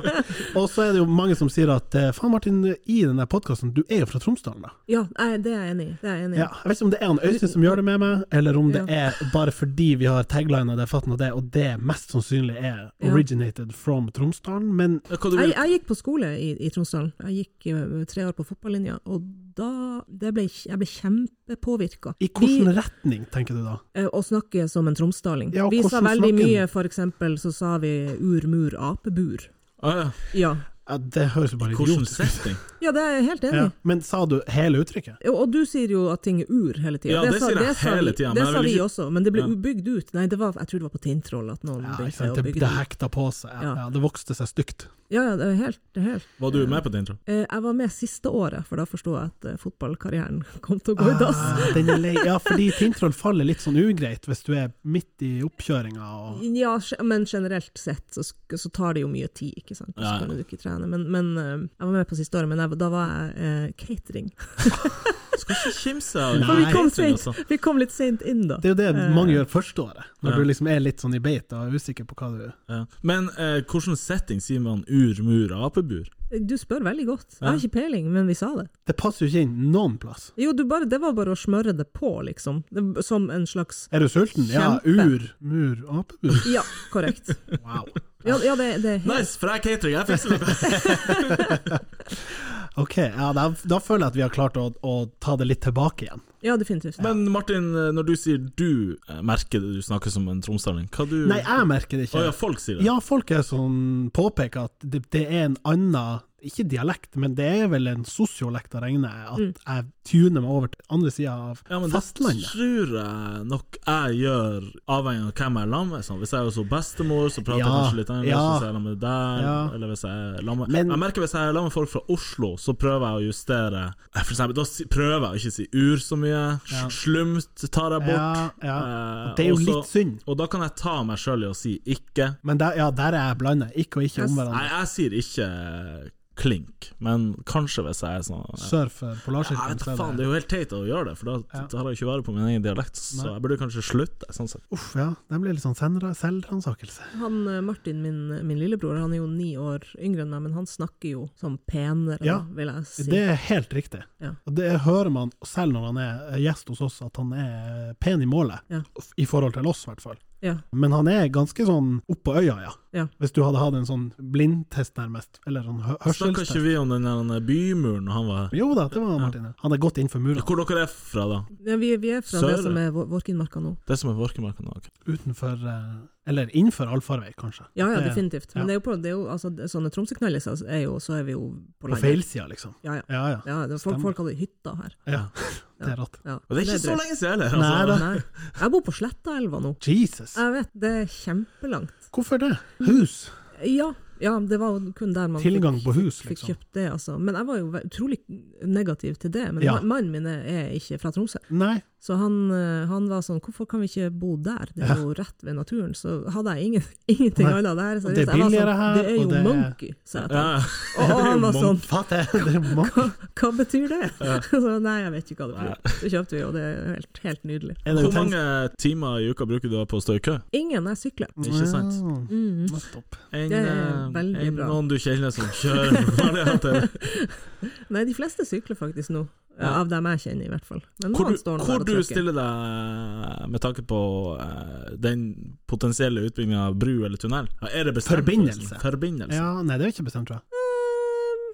Og så er det jo mange som sier at eh, faen, Martin, i den podkasten, du er jo fra Tromsdalen, da. ja, nei, det er jeg enig i. Det er jeg enig i. Ja, jeg vet ikke om det er han Øystein som gjør det med meg, eller om det er bare fordi vi har taglina det, fatten og det, og det mest sannsynlig er Ja. originated from Tromsdalen, men ja, Hva du Jeg, vil? jeg gikk på skole i, i Tromsdalen. Jeg gikk eh, tre år på fotballinja, og da det ble, Jeg ble kjempepåvirka. i hvilken retning, tenker du da? eh, Å snakke som en tromsdaling. Ja, vi sa hvordan veldig snakker mye, for eksempel så sa vi ur, mur, apebur. Ah, ja. Ja, Ja, det høres jo bare Hvordan idiotisk ut. setting? ja det er jeg helt enig i. Ja. Men sa du hele uttrykket? Og, og du sier jo at ting er ur hele tida. Ja, det sier jeg hele vi, tiden, men det jeg sa vil vi ikke- også, men det ble Ja. bygd ut. Nei, det var, jeg tror det var på Tintroll at noen Ja, ikke begynte sant? å Det, bygge det det ut. hekta på seg. Ja. Ja. Ja, det vokste seg stygt. Ja, ja, det er helt, det er helt. Var du med på den intro? Eh, Jeg var med siste året, for da forsto jeg at eh, fotballkarrieren kom til å gå i dass. Ah, den er lei. Ja, fordi Tintroll faller litt sånn ugreit hvis du er midt i oppkjøringa og Ja, ge- men generelt sett så, sk- så tar det jo mye tid, ikke sant. Så Ja. kan du ikke trene. Men, men eh, jeg var med på siste året, men jeg, var- da var jeg eh, catering. Skal ikke kimse av altså. Nei. For vi kom, catering, sent, vi kom litt seint inn da. Det er jo det mange gjør første året, når Ja. du liksom er litt sånn i beit og er usikker på hva du Ja. Men eh, hvordan setting sier man ur, mur, apebur? Du spør veldig godt. Jeg har ikke peiling, men vi sa det. Det passer jo ikke inn noen plass. Jo, du bare, det var bare å smøre det på, liksom. Det, som en slags Er du sulten? Ja, Kjempe. ur, mur, apebur. Ja, korrekt. Wow. Ja, ja det, det er helt Nice, for jeg er catering, jeg fikser det! Ok, ja, da, da føler jeg at vi har klart å, å ta det litt tilbake igjen. Ja, definitivt. Men Martin, eh, når du sier du eh, merker det, du snakker som en tromsdaling, hva du Nei, jeg merker det Å ja, ikke. folk sier det. Ja, folk er sånn påpeker at det, det er en annen ikke dialekt, men det er vel en sosiolekt å regne, at jeg tuner meg over til andre sida av Ja, men det fastlandet. tror jeg nok jeg gjør, avhengig av hvem jeg er sammen med. Sånn. Hvis jeg er hos bestemor, så prater jeg Ja, kanskje litt engelsk. ja. Hvis jeg er sammen med deg, Ja. eller hvis jeg er sammen med Men- Jeg merker hvis jeg er sammen med folk fra Oslo, så prøver jeg å justere Eh, For eksempel, da si- prøver jeg å ikke si ur så mye. Ja. Slumt tar jeg bort. Ja, ja. Eh, Og det er jo og så- litt synd, Og da kan jeg ta meg sjøl i å si ikke. men der, ja, der er jeg blanda. Ikke og ikke om Nei, hverandre. jeg sier ikke klink, men kanskje hvis jeg er sånn Sør for Jeg Polarsirkelen. vet så da faen, det er jo helt teit å gjøre det, for da da har jeg jo ikke vare på min egen dialekt, så jeg burde kanskje slutte. Sånn sett. Uff, ja. Den blir litt sånn senra- selvransakelse. Han eh, Martin, min, min lillebror, han er jo ni år yngre enn meg, men han snakker jo sånn penere, Ja, vil jeg si. Det er helt riktig. Ja. Og det hører man selv når han er gjest hos oss, at han er pen i målet. Ja. I forhold til oss, i hvert fall. Ja. Men han er ganske sånn oppå øya, ja. Ja. Hvis du hadde hatt en sånn blindtest, nærmest. Eller sånn hø- Snakka ikke hørselstest. vi om den der bymuren og han var Jo da, det var han, Martine. Han er godt innenfor muren. Hvor dere er fra, da? Ja, vi, vi er fra Sør. det som er Vår- Vorkinmarka nå. Det som er Vorkemarka nå? ok. Utenfor eh, Eller innenfor allfarvei, kanskje. Ja, ja, Det- definitivt. ja. Men det er jo på, det er jo, altså, det- sånne tromsøknalliser er jo, så er vi jo På på landet. feilsida, liksom. Ja, ja. Ja ja. ja det, folk, Stemmer. folk hadde hytta her. ja. Det er rått. Ja. Og det er ikke så drøyt. lenge siden heller! Nei Altså. da. Nei. Jeg bor på Slettaelva nå. Jesus. Jeg vet, det er kjempelangt. Hvorfor det? Hus. Ja, ja, det var jo kun der man fikk- Tilgang på hus, fikk liksom. kjøpt det, altså. Men jeg var jo ve- utrolig negativ til det. Men Ja. ma- mannen min er- er ikke fra Tromsø. Nei. Så han, eh, han var sånn, hvorfor kan vi ikke bo der? Det er jo rett ved naturen. Så hadde jeg ingen, ingenting Nei. annet der. Så Og det er jeg var billigere her, Sånn, det er og jo det er- monkey, sa jeg til Ja, han. ja. Og, og han var sånn, Fatter jeg. Det er mange. hva betyr det? Så nei, jeg vet ikke hva det betyr. Så kjøpte vi, og det er jo helt, helt nydelig. Er det Hvor jo tenkt- mange timer i uka bruker du på å stå i kø? Ingen, jeg sykler. Ikke sant? Mm. Nettopp. En, Det er eh, veldig en bra. noen du kjenner som kjører fra det til Nei, de fleste sykler faktisk nå. Ja. Av dem jeg kjenner, i hvert fall. Men Hvor, noen du, står nå hvor der og du trykker. stiller deg med tanke på eh, den potensielle utbygginga av bru eller tunnel? Ja, Er det bestemt? Forbindelse. Forbindelse. Ja, nei, det er jo ikke bestemt, tror jeg. Eh,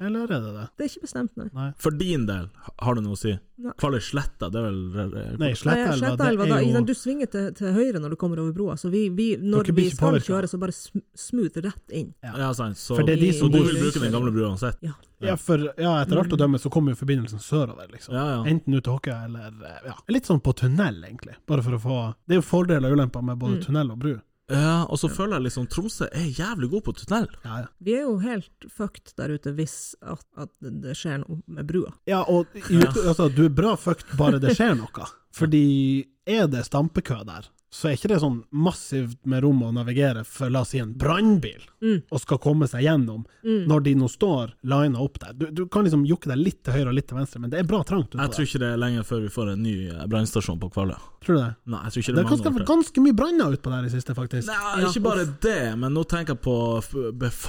Eller er det det? Det er ikke bestemt, nei. For din del, har det noe å si? Nei. Kvaløy sletta, det er vel eh, Nei, Nei, Slettaelva, det Slettaelva, da, er ikke sant, jo du svinger til, til høyre når du kommer over broa, så vi, vi, når Dere blir vi ikke skal påvirket. kjøre, så bare sm smooth rett inn. Ja, sant. Så, For det er de så som du bor vil bruke den gamle brua uansett? Ja. Ja, for ja, etter alt å dømme så kommer jo forbindelsen sørover, liksom. Ja, ja. Enten ut til Håkøya eller ja, litt sånn på tunnel, egentlig. Bare for å få Det er jo fordeler og ulemper med både tunnel og bru. Ja, og så føler jeg liksom Tromsø er jævlig god på tunnel. Ja, ja. Vi er jo helt fucked der ute hvis at, at det skjer noe med brua. ja og i, ut- altså, du er bra fucked bare det skjer noe. Fordi er det stampekø der, så er ikke det sånn massivt med rom å navigere for la oss si en brannbil, Mm. og skal komme seg gjennom, når de nå står lina opp der. Du, du kan liksom jukke deg litt til høyre og litt til venstre, men det er bra trangt utpå Jeg tror der. ikke det er lenge før vi får en ny eh, brannstasjon på Kvaløya. Tror du det? Nei, jeg tror ikke Det er det er mange ganske, år til. ganske mye branner utpå der i siste, faktisk. Nei, Ja, ikke bare det, men nå tenker jeg på f-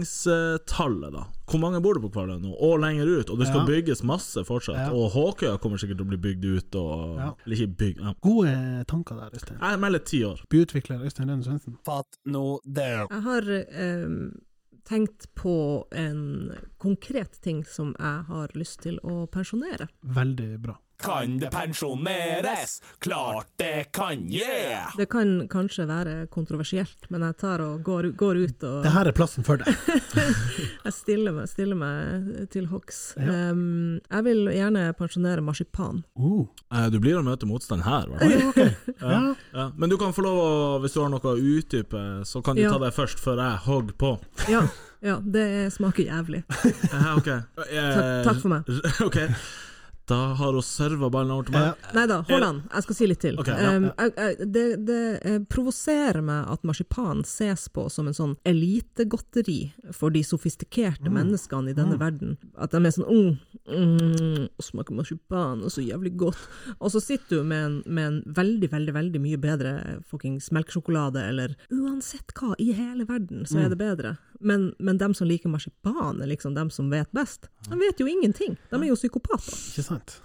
befolkningstallet, da. Hvor mange bor det på Kvaløya nå, og lenger ut? Og det skal Ja. bygges masse fortsatt. Ja. Og Håkøya kommer sikkert til å bli bygd ut, og Ja. Eller ikke bygd ja. Gode tanker der, Øystein. Jeg melder ti år. Byutvikler Øystein Rene Svendsen. Fatt nå det. Jeg har ehm, tenkt på en konkret ting som jeg har lyst til å pensjonere. Veldig bra. Kan det pensjoneres? Klart det kan, yeah! Det kan kanskje være kontroversielt, men jeg tar og går, går ut og Det her er plassen for deg. jeg stiller meg, stiller meg til hogs. Ehm, jeg vil gjerne pensjonere marsipan. Uh, Eh, Du blir å møte motstand her, i hvert fall. ja. Ja. Men du kan få lov å, hvis du har noe å utdype, så kan du Ja. ta det først, før jeg hogger på. Ja, ja det smaker jævlig. Eh, ok. Eh, takk for meg. ok. Da har hun serva ballen over til meg. Nei da, hold an. Jeg skal si litt til. Ok, ja, Ehm, jeg- jeg- det det eh, provoserer meg at marsipan ses på som en sånn elitegodteri for de Mm. sofistikerte menneskene i denne verden. At de er sånn mm, mm, og smaker marsipan, og så jævlig godt. Og så sitter du med en, med en veldig, veldig veldig mye bedre fuckings melkesjokolade, eller uansett hva, i hele verden, Mm. så er det bedre. Men, men dem som liker marsipan, er liksom dem som vet best. De vet jo ingenting. De er jo psykopater. Ikke sant?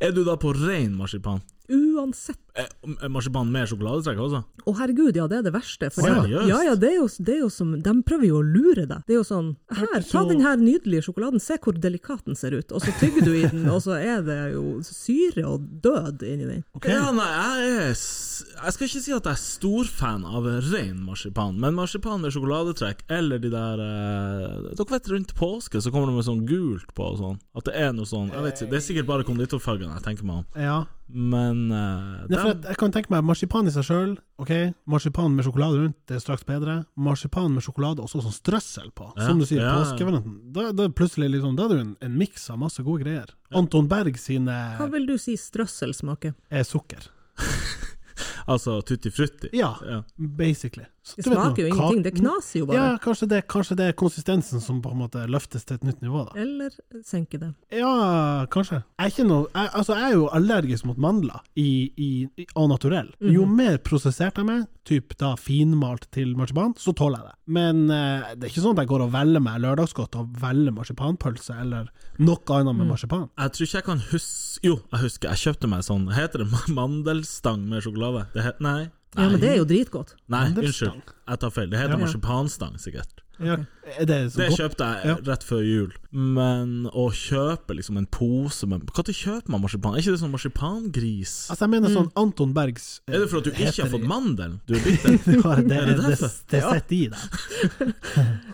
Er du da på rein marsipan? Uansett. Eh, m- Marsipan med sjokoladetrekk også? Å herregud, ja, det er det verste. For Å, det, seriøst? ja, ja, det er jo, det er jo som, de prøver jo å lure deg. Det er jo sånn Her, ta så- den her nydelige sjokoladen, se hvor delikat den ser ut. Og så tygger du i den, og så er det jo syre og død inni den. Ja, nei, jeg er s- Jeg skal ikke si at jeg er storfan av ren marsipan, men marsipan med sjokoladetrekk eller de der eh, Dere vet rundt påske så kommer det med sånn gult på og sånn. At det er noe sånn Jeg vet ikke, Det er sikkert bare konditorfargene jeg tenker meg om, Ja. men eh, Nei, for dem- at jeg kan tenke meg marsipan i seg sjøl. Ok, Marsipan med sjokolade rundt, det er straks bedre. Marsipan med sjokolade også sånn strøssel på, Ja, som du sier, ja, ja. påskevarianten. Da, da, er plutselig liksom, da er det jo en, en miks av masse gode greier. Anton Berg sine Hva vil du si strøssel smaker? er sukker. Altså tutti frutti. Ja, Ja. basically. Så Det du vet smaker nå, jo ka- ingenting, det knaser jo bare. Ja, kanskje det, kanskje det er konsistensen som på en måte løftes til et nytt nivå, da. Eller senke det. Ja, kanskje. Jeg er, ikke noe, jeg, altså, jeg er jo allergisk mot mandler i, i, i, av naturell. Jo mer prosessert de er, typ da finmalt til marsipan, så tåler jeg det. Men eh, det er ikke sånn at jeg går og velger meg lørdagsgodt og velger marsipanpølse eller noe annet med marsipan. Jeg tror ikke jeg kan huske Jo, jeg husker jeg kjøpte meg sånn Heter det ma- mandelstang med sjokolade? Det het, nei. Ja, men det er jo dritgodt. Nei, Mandelstang? unnskyld. Jeg tar feil. Det heter Ja. marsipanstang, sikkert. Ja, er Eh, det så Det godt? kjøpte jeg Ja. rett før jul. Men å kjøpe liksom en pose med Når kjøper man marsipan? Er ikke det sånn marsipangris? Altså, jeg mener sånn Anton Bergs eh, Er det for at du ikke har heter fått det- mandelen? Du er bitter? Ja, det, det, det, det, derfor? sitter i deg.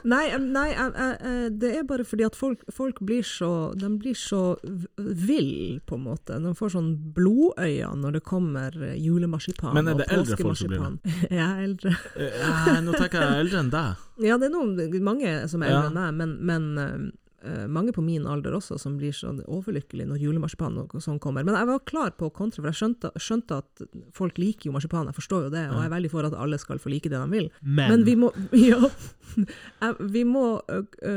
Nei, em, nei em, eh, eh, det er bare fordi at folk, folk blir så De blir så v- vill, på en måte. De får sånn blodøyne når det kommer eh, julemarsipan Men er det og eldre folk som blir påskemarsipan. Jeg er eldre. Eh, Nei, nå tenker jeg eldre enn deg. Ja, det er noen, mange som er eldre Ja. enn meg, men, men eh, eh, mange på min alder også som blir sånn overlykkelige når julemarsipan og sånn kommer. Men jeg var klar på kontra, for jeg skjønte, skjønte at folk liker jo marsipan, jeg forstår jo det, og jeg er veldig for at alle skal få like det de vil. Men- vi må, ja, eh, vi må ø, ø,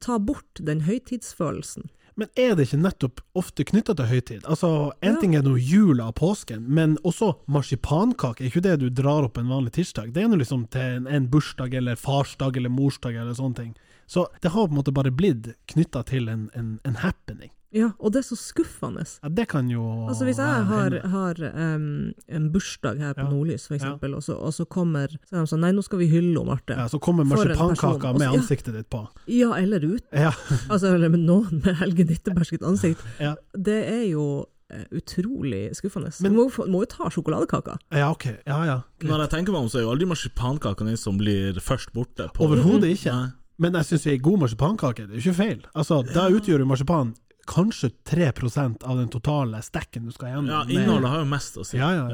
ta bort den høytidsfølelsen. Men er det ikke nettopp ofte knytta til høytid? Altså, En Ja. ting er nå jula og påsken, men også marsipankake. Er ikke det du drar opp en vanlig tirsdag? Det er nå liksom til en, en bursdag eller farsdag eller morsdag eller sånne ting. Så det har på en måte bare blitt knytta til en, en, en happening. Ja, og det er så skuffende. Ja, det kan jo Altså Hvis jeg være har, en- har em, en bursdag her på Ja. Nordlys, for eksempel, og, så, og så kommer så er de sånn Nei, nå skal vi hylle om Marte. ja, Så kommer For en person. marsipankaka med Også- ja. ansiktet ditt på. Ja, eller ut. Ja, Altså, eller med noen med Helge Nitteberg sitt ansikt. ja, Det er jo eh, utrolig skuffende. Men- Men må, jo få- må jo ta sjokoladekaka. ja ok. Ja, ja. Når jeg tenker meg om, så er jo aldri marsipankakene som blir først borte. på- Overhodet ikke. Nei. Men jeg syns ei god marsipankake, det er jo ikke feil. Altså, Da utgjør jo marsipan kanskje 3 av den totale stacken du skal gjennom. Ja, med- innholdet har jo mest å si. Mm, Ja, ja.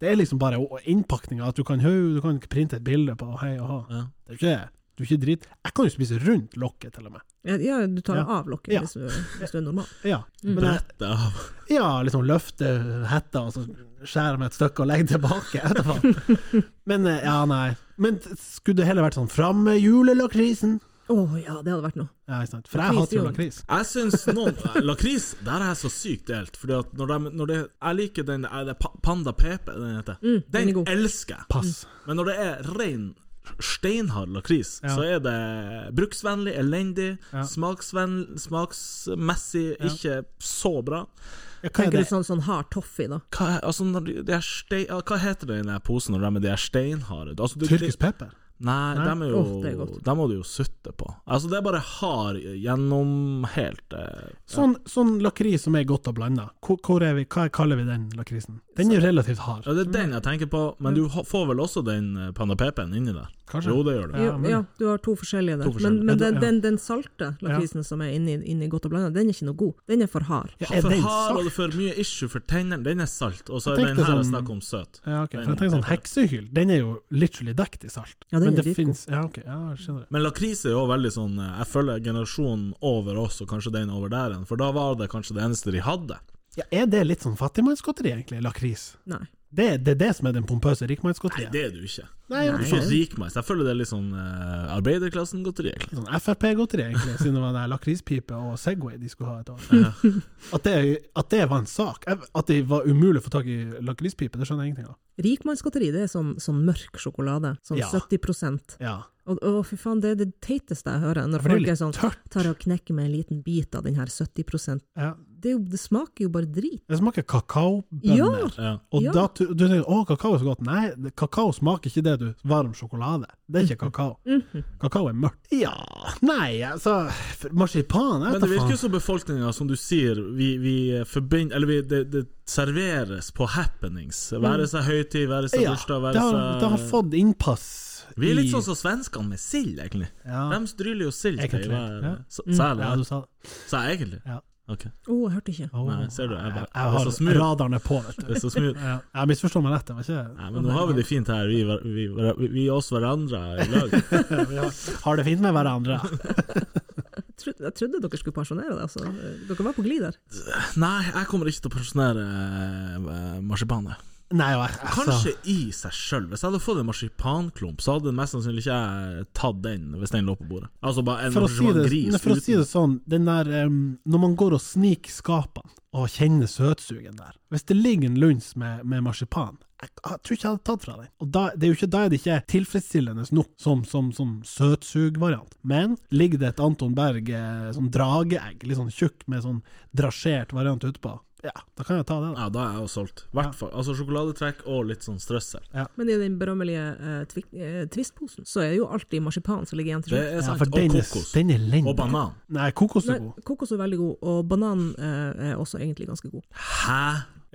Det er liksom bare innpakninga. At du kan, hø- du kan printe et bilde på hei og hå. Ja. Det er ikke Du er ikke drit. Jeg kan jo spise rundt lokket, til og med. Ja, ja du tar Ja. av lokket Ja. hvis, du, hvis du er normal. Ja, men jeg, Brettet av. ja liksom løfte hetta og så skjære meg et stykke og legge tilbake. Jeg vet da faen. Men eh, ja, nei. Men skulle det heller vært sånn fram med julelakrisen? Å ja, det hadde vært noe. Ja, ikke sant. For jeg hater jo lakris. Jeg syns noen eh, Lakris, der er jeg så sykt delt. Fordi at når de, når det, Jeg liker den er det pa- Panda PP, den heter. Mm, den er den god. elsker jeg. Pass. Men når det er rein steinhard lakris, Ja. så er det bruksvennlig, elendig, smaksvenn- smaksmessig ikke så bra. Ja, hva er Tenker det? du sånn, sånn hard toffee, da? Hva, er- altså, når de- de er stein, ah, hva heter det i den der posen når de er de er steinharde? Altså, det- Tyrkisk det- pepper? Nei, Nei? dem er jo Åh, det er godt. Dem må du jo sutte på. Altså, det er bare hard gjennom helt eh, Sånn, sånn lakris som er godt og blanda, hvor, hvor er vi, hva kaller vi den lakrisen? Den er jo relativt hard. Ja, det er den jeg tenker på, men du ha- får vel også den eh, Panda PP-en inni der? Kanskje. Jo, det gjør du. Ja, ja, du har to forskjellige der. To forskjellige. Men, men Ja, du- den, ja. den, den salte lakrisen som er inni, inni godt og blanda, den er ikke noe god. Den er for hard. Ja, er For den altså, hard og det salt? er for mye issue for tennene. Den er salt, og Jeg så er den tenkte her jeg sånn- snakker om søt. Ja, ok. For Den- jeg tenker sånn Heksehyl, den er jo literally dekket i salt. Ja, den Men er det dritgod. finnes- Ja, ok. Ja, jeg skjønner det. Men lakris er jo veldig sånn eh, Jeg føler generasjonen over oss, og kanskje den over der igjen, for da var det kanskje det eneste de hadde. Ja, er det litt sånn fattigmannsgodteri, egentlig? Lakris? Nei. Det, det er det som er den pompøse Nei, rikmannsgodteriet? det er du ikke. Nei, Du er ikke rikmeis. Jeg føler det er litt sånn eh, arbeiderklassen-godteri. egentlig. Sånn Frp-godteri, egentlig, siden det var den lakrispipe og Segway de skulle ha et år. At det, at det var en sak. Jeg- At det var umulig å få tak i lakrispipe, det skjønner jeg ingenting av. Rikmannsgodteri det er sånn, sånn mørk sjokolade. Sånn Ja. 70 Ja. Og, å, fy faen, det er det teiteste jeg hører. Når For det er folk litt er sånn, tørt. tar og knekker med en liten bit av den her 70 Ja. det, er jo, det smaker jo bare drit. Det smaker kakaobønner. Ja. Og Ja. da tu- du tenker å, kakao er så godt. Nei, det- kakao smaker ikke det, du. Varm sjokolade. Det er ikke kakao. Mhm. Kakao er mørkt. Ja, nei, altså for- Marsipan, jeg Men vet det da virker jo faen. som befolkninga, som du sier, vi, vi forbinder Eller vi, det, det serveres på happenings. Være seg høytid, være seg Mm. Ja, bursdag, det være har, seg det har fått innpass. Vi er litt i- sånn som svenskene med sild, egentlig. Ja. De stryler jo sild til Egentlig, ja. Mm. hver- Så- Ja, du Særlig. sa det. Sa jeg egentlig? Ja. Ok. Å, jeg hørte ikke. Åh, Nei, ser du, jeg bare- altså, jeg, jeg har det er så smooth. radaren er på, vet du. Det er så smooth. Ja, jeg misforstår meg rett, det var ikke Nei, men nå har vi det fint her, vi, hver- vi, hver- vi, vi oss hverandre i lag. vi har, har det fint med hverandre. Jeg trodde, jeg trodde dere skulle pensjonere det. Altså. Dere var på glid der. Nei, jeg kommer ikke til å pensjonere eh, marsipanet. Nei, og jeg, altså, Kanskje i seg sjøl. Hvis jeg hadde fått en marsipanklump, så hadde mest sannsynlig ikke jeg tatt den hvis den lå på bordet. Altså bare en for å, si det, marsipangris for å si det uten sånn, den der, em, når man går og sniker skapene og kjenner søtsugen der Hvis det ligger en lunsj med, med marsipan, jeg, jeg tror ikke jeg hadde tatt fra den. Og da, det er jo ikke, da er det ikke tilfredsstillende nok som, som, som søtsugvariant. Men ligger det et Anton Berg eh, sånn drageegg, litt sånn tjukk med sånn drasjert variant utpå, ja, da kan jeg ta det. da. Ja, da er jeg jo solgt. Hvert fall. Altså sjokoladetrekk og litt sånn strøssel. Men i den berømmelige eh, tvi, eh, Twist-posen så er det jo alltid marsipan som ligger igjen til Det slutt. er Ja, sant. for den og er, kokos. den er lenge. Og banan. Nei, kokos Nei, er god. kokos er veldig god, og banan eh, er også egentlig ganske god. Hæ?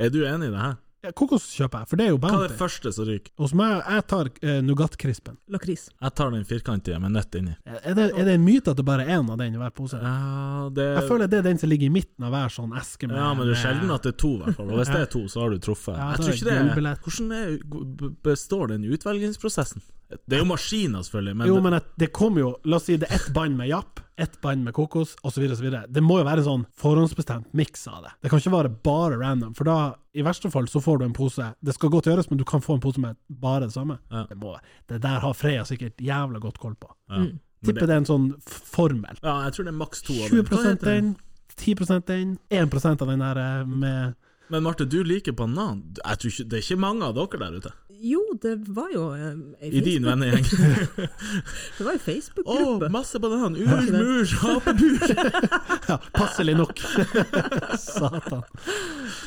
Er du enig i det her? Ja, kokos kjøper jeg, for det er jo Hva er det bounty. første som ryker? Hos meg, jeg tar eh, nougatkrispen. Lakris. Jeg tar den firkantige med nøtt inni. Er det, er det en myte at det bare er én av den i hver pose? Ja, det Jeg føler det er den som ligger i midten av hver sånn eske. med- Eh, Ja, men det er med- sjelden at det er to, i hvert fall. Og hvis det er to, så har du truffet. Eh. Ja, jeg da tror er ikke det er, gullbillett. Hvordan er, består den utvelgingsprosessen? Det er jo maskiner, selvfølgelig, men, Jo, men at det kommer jo La oss si det er ett bånd med japp, ett bånd med kokos, osv. Det må jo være en sånn forhåndsbestemt miks av det. Det kan ikke være bare random, for da, i verste fall, så får du en pose Det skal godt gjøres, men du kan få en pose med bare det samme. Ja. Det, må, det der har Freya sikkert jævla godt koll på. ja. men Mm. Tipper det er en sånn f- formel. Ja, jeg tror det er maks to. av dem. 20 den, 10 den, 1 av den der eh, med Men Marte, du liker banan. Jeg tror ikke, det er ikke mange av dere der ute. Jo, det var jo eh, ei I din Facebook- vennegjeng. Det var Å, ei Facebook-gruppe. masse banan! Ur, mur, apebur! Ja, passelig nok. Satan.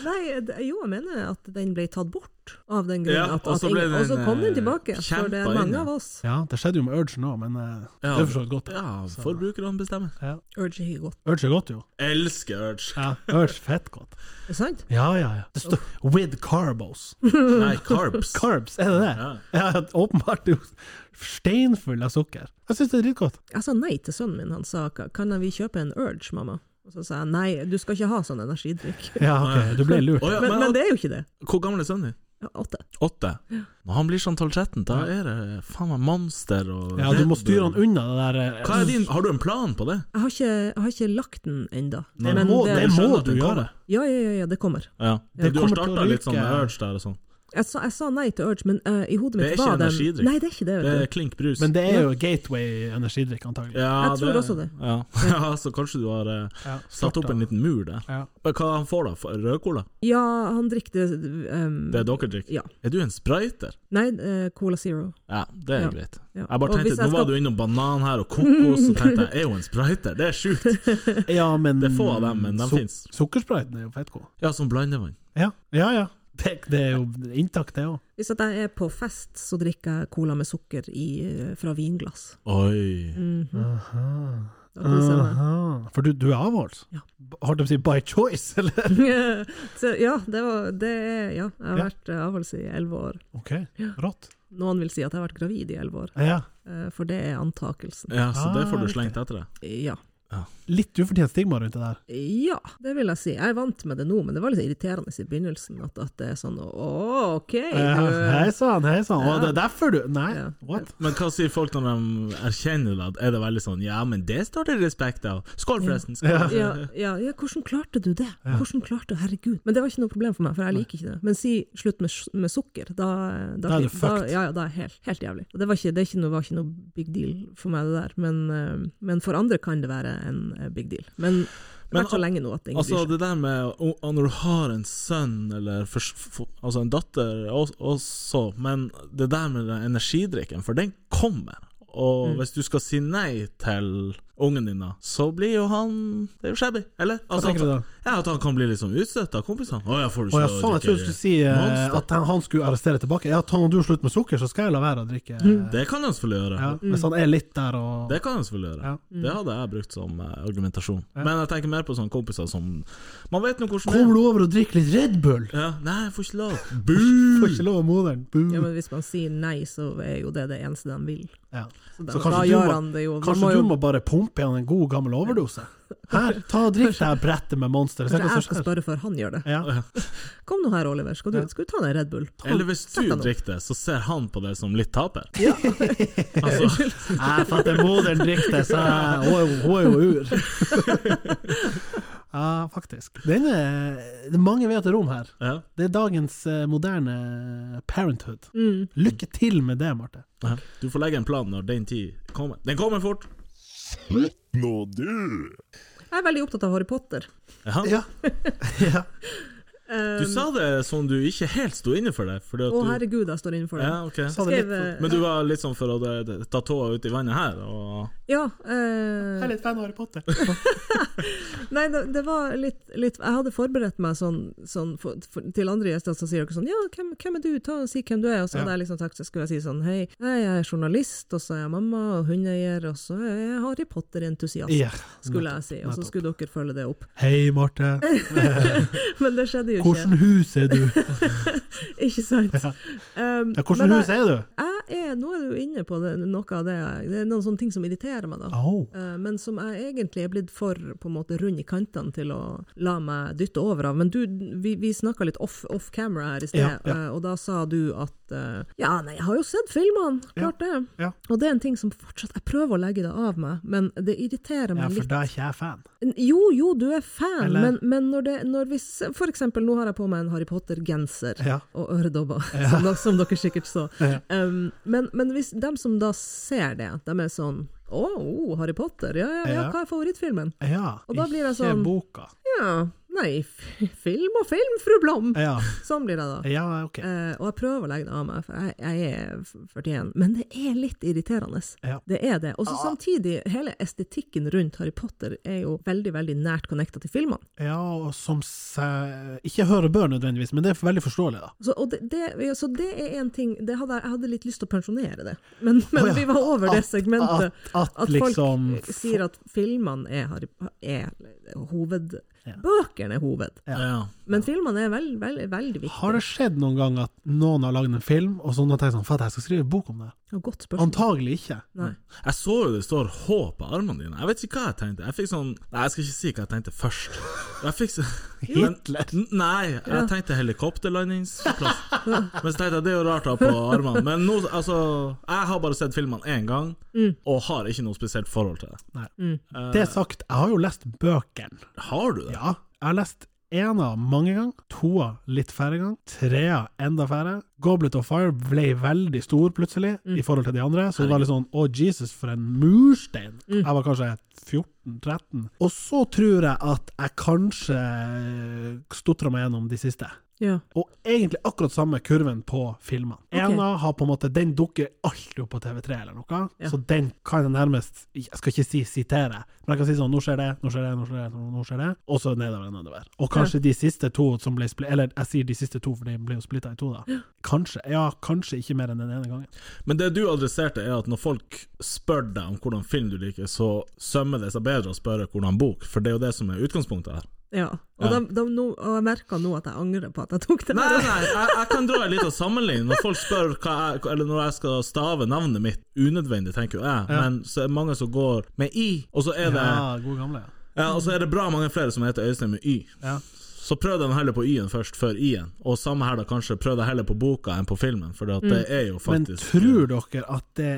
Nei, det- jo, jeg mener at den ble tatt bort av den grunnen. Ja, at, og at så ble ingen- og så den, kom den eh, tilbake, for det kjempa er inn, mange ja. av oss. Ja, det skjedde jo med Urge nå, men eh, Ja. det er for så vidt godt. Ja, forbrukerne bestemmer. Urge ikke godt. Urge er godt, jo. Elsker Urge. Ja, Urge fett godt. Er det sant? Ja, ja, ja. Det står 'with carbos'. Nei, carbs. Carbs, er det det? Ja. Ja, åpenbart. det er jo steinfull av sukker. Jeg syns det er dritgodt. Jeg sa nei til sønnen min. Han sa "Ka- kan vi kjøpe en Urge, mamma? Og så sa jeg nei, du skal ikke ha sånn energidrikk. Ja, ok, du ble lurt. Å ja, Men, men, men det er jo ikke det. Hvor gammel er sønnen din? Ja, Åtte. Åtte? Når han blir sånn 12-13, da er det faen meg monster og Ja, du må Red styre Bull. han unna det der eh, Hva er din, har du en plan på det? Jeg har ikke, jeg har ikke lagt den ennå. Nei, Men må, det, det Jeg skjønner må at du den gjøre. Ja, ja, ja, ja, det kommer. Ja. Det du har kommer til å starta litt sånn med ryke. urge der og sånn. Jeg sa, jeg sa nei til Urge, men eh, i hodet Det er mitt ikke var den energidrikk. Nei, det er ikke det. Det Vet er klink brus. Men det er jo gateway energidrikk, antagelig. ja, Jeg tror også det. Ja. ja, så kanskje du har eh, Ja, satt opp en liten mur der. Ja. Men Hva han får da? F- Rødcola? du. Ja, han drikte um, Det er dere drikker? Ja. Er du en spriter? Nei, eh, Cola Zero. Ja, det er Ja. greit. Ja. Jeg bare Og tenkte, hvis jeg Nå var du skal- innom banan her og kokos, og tenkte jeg er jo en spriter, det er sjukt! Ja, men Det er få av dem, men de finnes. Sukkerspriten er jo fettgod. Ja, som blandevann. Ja, ja. ja. Det, det er jo inntakt, det òg. Hvis at jeg er på fest, så drikker jeg cola med sukker i, eh, fra vinglass. Mhm. Oi. Da koser jeg meg. For du, du er avholds? Ja. Har du å si by choice, eller? så, ja, det var det er, Ja, jeg har Ja. vært eh, avholds i elleve år. OK, rått. Noen vil si at jeg har vært gravid i elleve år, Ja. eh, for det er antakelsen. Ja, så det får Ah, du riktig. slengt etter deg. Ja. Litt ufortjent stigma rundt det der. Ja, det vil jeg si. Jeg er vant med det nå, men det var litt irriterende i begynnelsen at, at det er sånn Å, OK! Ja, Du, Hei sann, hei sann. Å, Ja. Det er derfor du Nei, Ja. what? Men hva sier folk når de erkjenner det? Er det veldig sånn 'ja, men det står det respekt av'? Mm. Skål, forresten! Skål. ja, ja, ja, hvordan klarte du det? Hvordan klarte du Herregud. Men det var ikke noe problem for meg, for jeg liker ikke det. Men si slutt med, s- med sukker, da Da er du fucked. ja, ja, da er jeg helt, helt jævlig. Og Det, var ikke, det er ikke noe, var ikke noe big deal for meg, det der. Men, eh, men for andre kan det være en eh, big deal. Men det har Men vært så lenge nå at ingen Altså bryr seg. det der med å- å- Når du har en sønn eller for, for, altså en datter og- også, men det der med den energidrikken, for den kommer. Og Mm. hvis du skal si nei til ungen din, da, så blir jo han Det er jo shabby, eller? Altså, tenker du da? at- Ja, At han kan bli litt sånn utstøtt av kompisene. Å ja, får du Å ja, ikke faen, jeg trodde du skulle si eh, Monster. at han- han skulle arrestere tilbake. Ja, ta når du slutter med sukker, så skal jeg la være å drikke. eh, Det kan han selvfølgelig gjøre. Ja, hvis han Mm. er litt der og Det kan jeg selvfølgelig gjøre. Ja. Mm. Det hadde jeg brukt som eh, argumentasjon. Men jeg tenker mer på sånne kompiser som Man vet nå hvordan Kommer det er. du over og drikker litt Red Bull? Ja, nei, jeg får ikke lov. Får ikke lov av moderen. Boo. Ja, men hvis man sier nei, så er jo det det eneste de vil. Ja. Så da, Så da kanskje, du gjør må, han det jo. Man kanskje må du jo må bare pumpe igjen en god, gammel overdose? Her, ta og drikk det her brettet med Monster. Se hva Kanskje jeg som skal skjer. spørre før han gjør det. Ja. Kom nå her, Oliver, skal du, skal du ta deg en Red Bull? Kom, Eller hvis sett du deg nå. drikker det, så ser han på det som litt taper. altså, Jeg fatter moderen drikker det, så jeg- hun er jo- hun er jo ur. Ja, faktisk. Den er, det er mange vete rom her. ja. Det er dagens eh, moderne parenthood. Mm. Lykke til med det, Marte. Ja. Du får legge en plan når den tid kommer. Den kommer fort! Nå du! Jeg er veldig opptatt av Harry Potter. Ja. Ja. ja. Du sa det som du ikke helt sto inne for det. Fordi Eh, Å, at du, herregud, jeg står innenfor det. ja, ok. Ta det litt Skrev, eh, Men du var litt sånn for å eh, ta tåa ut i vannet her, og Ja. eh, Jeg er litt fan av Harry Potter. nei, det, det var litt, litt Jeg hadde forberedt meg sånn, sånn for, for, til andre gjester, så sier dere sånn Ja, hvem, hvem er du? Ta og Si hvem du er. Og så hadde jeg liksom sagt, så skulle jeg si sånn Hei, hei, jeg er journalist, og så er jeg mamma og hundeeier, og så er jeg Harry Potter-entusiast, Ja. skulle jeg si. Og så nettopp. skulle dere følge det opp. Hei, Marte. Men det skjedde jo ikke. Hvordan hus er du? Ikke sant? Um, Ja, hvordan men hus er du? jeg er, nå er du inne på det, noe av det jeg- Det er noen sånne ting som irriterer meg, da. Au. Eh, Men som jeg egentlig er blitt for på en måte rund i kantene til å la meg dytte over av. Men du, vi, vi snakka litt off, off camera her i sted, Ja, ja. eh, og da sa du at eh, Ja, nei, jeg har jo sett filmene, klart det. Ja. Og det er en ting som fortsatt Jeg prøver å legge det av meg, men det irriterer Ja, meg for litt. da er ikke jeg fan. Jo, jo, du er fan, Eller- men, men når, det, når vi s- For eksempel, nå har jeg på meg en Harry Potter-genser Ja. og øredobber, som, da- som dere sikkert så. Um, men, men hvis de som da ser det, de er sånn Å, oh, Harry Potter, ja, ja, ja, Ja. hva er favorittfilmen? Ja, Og da blir jeg ikke sånn- boka. Ja, nei, f film og film, fru Blom! Ja, Sånn blir det da. ja ok. Eh, og jeg prøver å legge det av meg, for jeg, jeg er f- 41. Men det er litt irriterende. Ja. Ah. Det er det. Og så samtidig, hele estetikken rundt Harry Potter er jo veldig veldig nært connecta til filmene. Ja, og som se- Ikke hører bør nødvendigvis, men det er veldig forståelig, da. Så, og det, det, ja, så det er en ting det hadde, Jeg jeg hadde litt lyst til å pensjonere det, men, men vi var over det At- segmentet. at- at liksom- folk sier at filmene er, Harry- er hoved... Bøkene er hoved, ja. men filmene er veld, veld, veldig viktige. Har det skjedd noen gang at noen har lagd en film, og så noen tenker sånn Fatt, jeg skal skrive bok om det? Det var et godt spørsmål. Antagelig ikke. Nei. Jeg så jo det står H på armene dine. Jeg vet ikke hva jeg tenkte. Jeg fikk sånn Nei, jeg skal ikke si hva jeg tenkte først. Jeg fikk så... Hitler. N- Nei, jeg tenkte helikopterlandingsplass. Men så tenkte jeg det er jo rart å ha på armene. Men nå, altså Jeg har bare sett filmene én gang, Mm. og har ikke noe spesielt forhold til det. Nei. Mm. Det sagt, jeg har jo lest bøkene. Har du det? Ja, jeg har lest ena mange ganger, toa litt færre ganger, trea enda færre. Goblet of Fire ble veldig stor plutselig i forhold til de andre, så det var litt sånn å Jesus, for en murstein! Jeg var kanskje 14-13. Og så tror jeg at jeg kanskje stotra meg gjennom de siste. Ja. Og egentlig akkurat samme kurven på filmene. Ena har på en måte, den dukker alltid opp på TV3 eller noe, Ja. så den kan jeg nærmest, jeg skal ikke si sitere, men jeg kan si sånn, nå skjer det, nå skjer det, nå skjer det, nå- nå skjer det, og så nedover og nedover. Og kanskje de siste to som ble splittet, eller jeg sier de siste to, for de ble jo splittet i to da. Kanskje, ja, kanskje ikke mer enn den ene gangen. Men det du adresserte, er at når folk spør deg om hvordan film du liker, så sømmer det seg bedre å spørre hvordan bok, for det er jo det som er utgangspunktet her. ja. Og, da- da- nå- og jeg merka nå at jeg angrer på at jeg tok det Nei, der. nei, nei, jeg, jeg kan dra en liten sammenligning. Når folk spør hva jeg, Eller når jeg skal stave navnet mitt, unødvendig, tenker jo jeg, men så er det mange som går med i, og så er det, Ja, god gamle. ja, og så er det bra mange flere som heter Øystein med y. Ja. Så prøv den heller på y-en først, før i-en, og samme her da kanskje, prøv deg heller på boka enn på filmen, for det er jo Men faktisk tror dere at det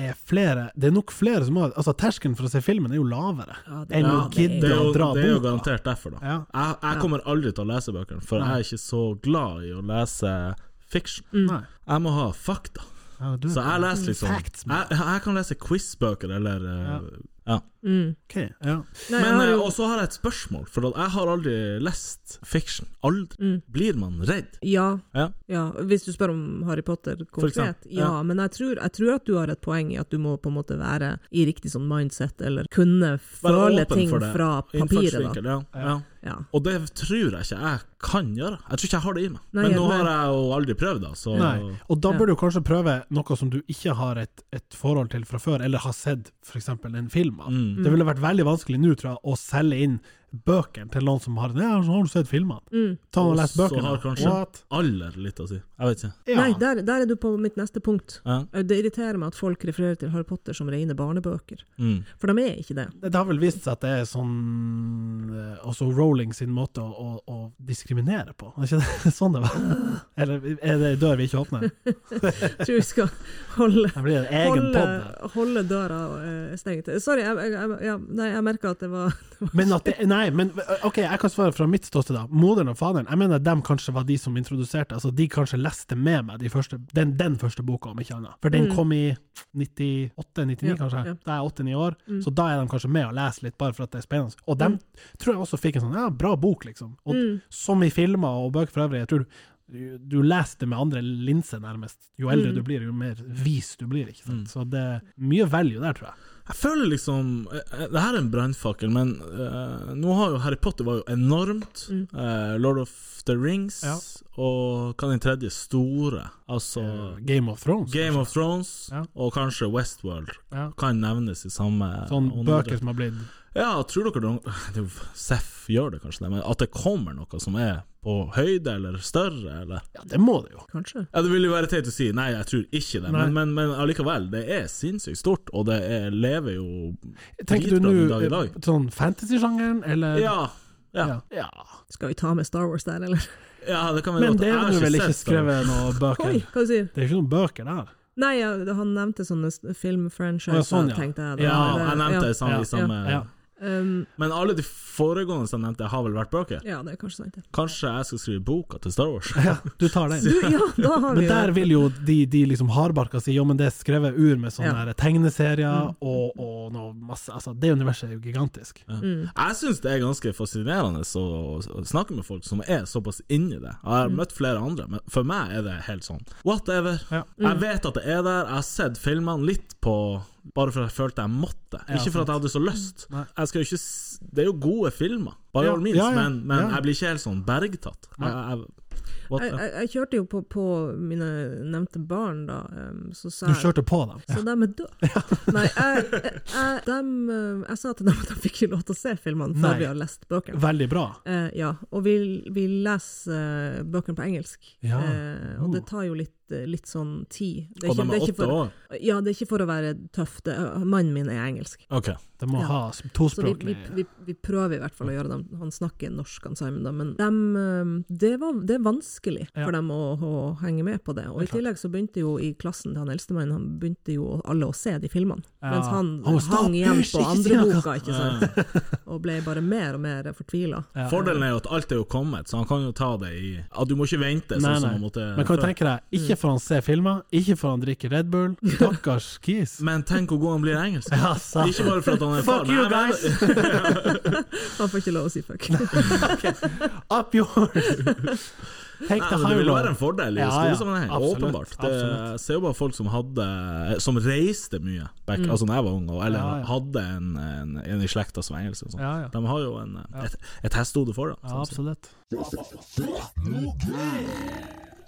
er flere, det er nok flere som har, altså terskelen for å se filmen er jo lavere, Ja, det er enn å det. det gidde er, å jo, dra det er jo boka. garantert derfor, da. Ja. Jeg, jeg kommer aldri til å lese bøkene, for jeg er ikke så glad i å lese fiction. Nei. Jeg må ha fakta. Ja, du- Så jeg leser liksom Facts, man. jeg, jeg kan lese quiz-bøker, eller eh, ja. Ok, ja. Mm. Nei, jeg Men, har eh, jo- Og så har jeg et spørsmål, for at jeg har aldri lest fiction. Aldri. Mm. Blir man redd? Ja, Ja. ja, hvis du spør om Harry Potter konkret. eksempel, Ja, ja. men jeg tror, jeg tror at du har et poeng i at du må på en måte være i riktig sånn mindset, eller kunne føle ting fra papiret. da. Innfallsvinkel, Ja. Ja. Ja. Og det tror jeg ikke jeg kan gjøre. Jeg tror ikke jeg har det i meg. Nei, Men nå nei. har jeg jo aldri prøvd, da, så Nei, og da bør du kanskje prøve noe som du ikke har et, et forhold til fra før, eller har sett f.eks. en film av. mm, Det ville vært veldig vanskelig nå, tror jeg, å selge inn bøkene til noen som har Ja, så har du sett filmene? Mm. Ta og les så bøkene. har kanskje What? aller litt å si. Jeg vet ikke. Ja. Nei, der, der er du på mitt neste punkt. Ja. Eh, Det irriterer meg at folk refererer til Harry Potter som rene barnebøker, Mm. for de er ikke det. Det har vel vist seg at det er sånn eh, Også Rowling sin måte å, å, å diskriminere på. Er ikke det sånn det var? Eller er det en dør vi ikke åpner? Jeg tror vi skal holde Det blir en egen Holde, pod. holde døra eh, stengt. Sorry, jeg, jeg, jeg, ja, nei, jeg merka at det var Men at det, nei, men ok, jeg kan svare fra mitt ståsted da. Moderen og faderen, jeg mener dem kanskje var de som introduserte, altså de kanskje leste med meg de første, den, den første boka, om ikke annet. For den kom i 98-99 Mm. Ja, kanskje, ja. Mm. da er jeg 8-9 år, så da er de kanskje med og leser litt, bare for at det er spennende. Og dem tror jeg også fikk en sånn, ja, bra bok liksom. Og Mm. som i filmer og bøker for øvrig, jeg tror du, du, du leser det med andre linser nærmest. Jo Mm. eldre du blir, jo mer vis du blir, ikke Mm. sant? Så det er mye value der, tror jeg. Jeg føler liksom eh, Det her er en brannfakkel, men eh, nå har jo Harry Potter var jo enormt. Eh, Lord of the Rings Mm. Ja. og hva er den tredje store? Altså Game of Thrones. Game of Thrones Ja. og kanskje Westworld Ja. kan nevnes i samme Sånn åndedrag. bøker som har blitt Ja, tror dere noen- det er jo- Seff gjør det kanskje det, men at det kommer noe som er på høyde eller større, eller Ja, det må det jo. Kanskje. Ja, Det vil jo være teit å si nei, jeg tror ikke det, Nei. men, men, men allikevel. Det er sinnssykt stort, og det er, lever jo Tenker du dritbra den dag nå i dag. eh, sånn fantasy-sjangeren, eller Ja. Ja. Ja. Skal vi ta med Star Wars der, eller? ja, det kan vi Men godt. det Jeg er har nå vel ikke sett det. skrevet noen bøker? Oi, hva du sier Det er ikke noen bøker der. Nei, ja, han nevnte sånne s- Å, ja, filmfranchiser, sånn, ja. tenkte jeg. da. Ja, Eller- jeg nevnte det samme, Ja. i samme Ja. Um, Men alle de foregående som jeg nevnte, har vel vært bøker? ja, det er kanskje sant, det. Kanskje jeg skal skrive boka til Star Wars? Du tar Du, den. ja, da har vi Men jo der vil jo de, de liksom hardbarka si jo, men det er skrevet ur med sånne Ja. her tegneserier og, og noe masse Altså, det universet er jo gigantisk. Mm. Jeg syns det er ganske fascinerende å, å snakke med folk som er såpass inni det. Jeg Mm. har møtt flere andre, men for meg er det helt sånn whatever. Ja. Mm. Jeg vet at det er der, jeg har sett filmene litt på bare for at jeg følte jeg måtte, Ja, ikke for at jeg hadde så lyst. Jeg skal jo ikke, s- det er jo gode filmer, bare Ja, all means, ja, ja, men, men ja. jeg blir ikke helt sånn bergtatt. Jeg, jeg, what, jeg, jeg, jeg kjørte jo på, på mine nevnte barn, da. Um, så sa Du jeg kjørte på dem. Så de er døde. Nei, jeg, jeg, jeg, dem, um, jeg sa til dem at de fikk ikke lov til å se filmene før Nei. vi har lest bøkene. Veldig bra. Eh, ja, og vi, vi leser eh, bøkene på engelsk, Ja. eh, og det tar jo litt eh, litt sånn tid. Oh. Det Og de det er åtte for, år? Ja, det er ikke for å være tøff. Det, eh, mannen min er engelsk. Ok. De må Ja. ha Så vi, vi, tospråklig vi, vi prøver i hvert fall å gjøre dem Han snakker norsk, han Simon, da, men dem, eh, det, var, det er vanskelig Ja. for dem å, å henge med på det. Og i tillegg så begynte jo i klassen til han eldstemannen Han begynte jo alle å se de filmene. Ja. Mens han Han var stopp, hang igjen hysj, på ikke si andre noe. boka, ikke sant. Og ble bare mer og mer fortvila. Ja. Fordelen er jo at alt er jo kommet, så han kan jo ta det i At du må ikke vente, Nei, sånn som nei. han måtte Men kan du før. tenke deg, ikke får han se filmer, ikke får han drikke Red Bull. Stakkars kis. Men tenk hvor god han blir i engelsk. Ja, altså. sant. Mm. Ikke bare for at han er far. Fuck you Nei, men- guys! Han får ikke lov å si fuck. Up yours! Take Nei, the men det high ville være en road. fordel i Ja, ja. skolesammenheng, Absolutt, åpenbart. Det, absolutt. jeg ser jo bare folk som hadde Som reiste mye, back, altså da jeg var ung, og- eller Mm. Ja, ja. hadde en, en, en i slekta som var engelsk. og sånn. Ja, ja. De har jo en, et, et hestehode foran. Ja, sånn sett. absolutt.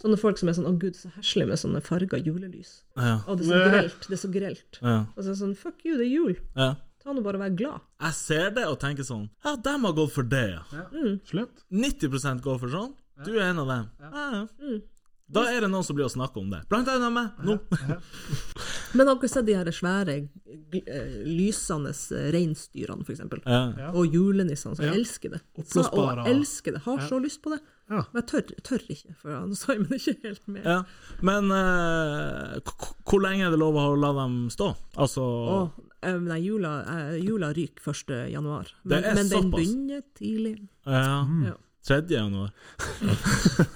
Sånne folk som er sånn 'Å gud, så heslig med sånne farga julelys'. Ja. Å, det er så grelt. Det er så grelt. Ja, Og så er det sånn 'fuck you, det er jul'. ja. Ta nå bare og vær glad. Jeg ser det og tenker sånn Ja, dem har gått for det, ja. Mm. Slutt. 90 går for sånn. Du er en av dem. Ja, ja. Mm. Da er det noen som blir å snakke om det. Blant annet meg, nå. Men har dere sett de her svære gl- eh, lysende eh, reinsdyrene, for eksempel? Ja. Og julenissene som elsker det. Så, Oppblåsbare. og elsker det. Har så lyst på det. Ja. Men jeg tør, tør ikke, for han Simon er ikke helt med. Ja. Men eh, k- k- hvor lenge er det lov å la dem stå? Altså Å, eh, nei, jula, eh, jula ryker 1. januar. Men, Det er men den såpass. begynner tidlig. Ja. Ja. 3. januar. Da er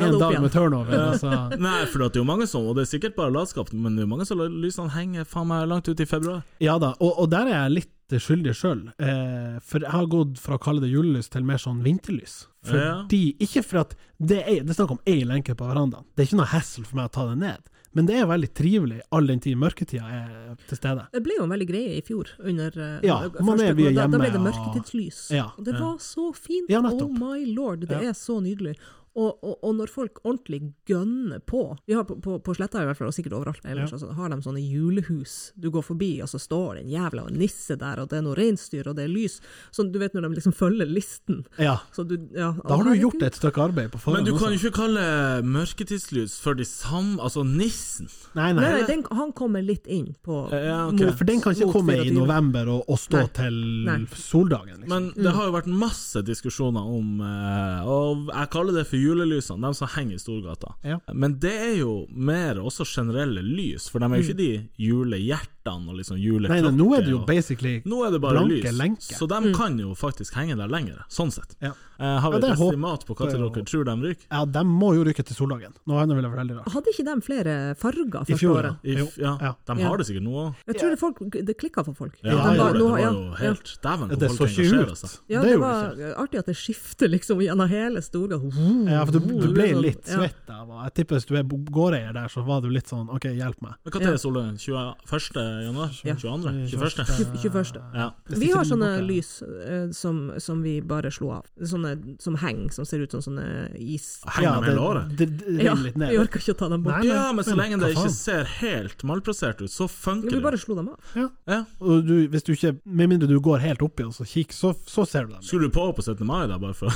En det opp dag med igjen. turnover. Altså. Nei, for at det er jo mange som, og det er sikkert bare latskap, men det er jo mange som lar lysene henge faen meg langt ut i februar. Ja da, og, og der er jeg litt skyldig sjøl. Eh, for jeg har gått fra å kalle det julelys til mer sånn vinterlys. Ja. Fordi, Ikke for at det er, det er snakk om én lenke på verandaen. Det er ikke noe hassle for meg å ta det ned. Men det er veldig trivelig all den tid mørketida er til stede. Det ble jo en veldig greie i fjor. Under, eh, Ja, første man er mye januar. da, da ble hjemme, det og- mørketidslys. Ja. Og det var så fint! Ja, oh nettopp. my lord, det er så nydelig. Og, og, og når folk ordentlig gønner på Vi har på, på, på Sletta i hvert fall, og sikkert overalt ellers, altså, har de sånne julehus. Du går forbi, og så står det en jævla nisse der, og det er noe reinsdyr, og det er lys. Sånn, du vet når de liksom følger listen. Ja. Så du, ja, Da har du herregud. gjort et stykke arbeid på Men forhånd. du kan jo også. ikke kalle mørketidslys for de samme Altså nissen. Nei, Nei, nei. nei den, han kommer litt inn på Eh, Eh, Ja, ok. For den kan ikke mot komme i 24. november og, og stå Nei. til Nei. soldagen. Liksom. Men det har jo vært masse diskusjoner om eh, Og jeg kaller det for julelysene, de som henger i Storgata. Ja. Men det er jo mer også generelle lys, for de er jo ikke de julehjertene og liksom nei, Mm. juleklokker. nei, nå er det jo og- basically Nå er det bare Blanke lys, lenker. så de Mm. kan jo faktisk henge der lenger, sånn sett. Ja. Eh, har vi Ja, det et håper estimat på hva jeg til jo. dere tror de ryker? Ja, de må jo rykke til soldagen. Noe annet ville vært veldig rart. Hadde ikke de flere farger I første fjor, året? I, Jo. f- ja. Ja. De Ja. har det sikkert nå òg. Jeg tror det, folk, det klikka for folk. Ja, De det, bare, gjorde det. nå- det ja, var jo ja. helt Dæven, Det hvor så folk ikke engasjerer ut. seg. Ja, Det det, gjorde var artig at det skifter liksom gjennom hele Storgata. Ja, for du, du det ble blir sånn- litt ja. svett av og Jeg tipper hvis du er bo- gårdeier der, så var du litt sånn OK, hjelp meg. Men Hva tid er solen? 21. januar? Ja. 22.? 21.? 21. Ja. Hvis Vi ikke har den sånne boka- lys eh, som, som vi bare slo av. Sånne som henger, som ser ut som sånne is... Henger Ja, de det, hele året? det, det Ja, renner litt ned. vi orker ikke å ta dem bort. Nei, Ja, men så lenge det hva ikke faen? ser helt malplassert ut, så Jo, funker vi det. bare slo dem av. Ja. Og du, hvis du ikke, Med mindre du går helt oppi og så kikker, så, så ser du dem. Skulle du på på 17. mai, da, bare for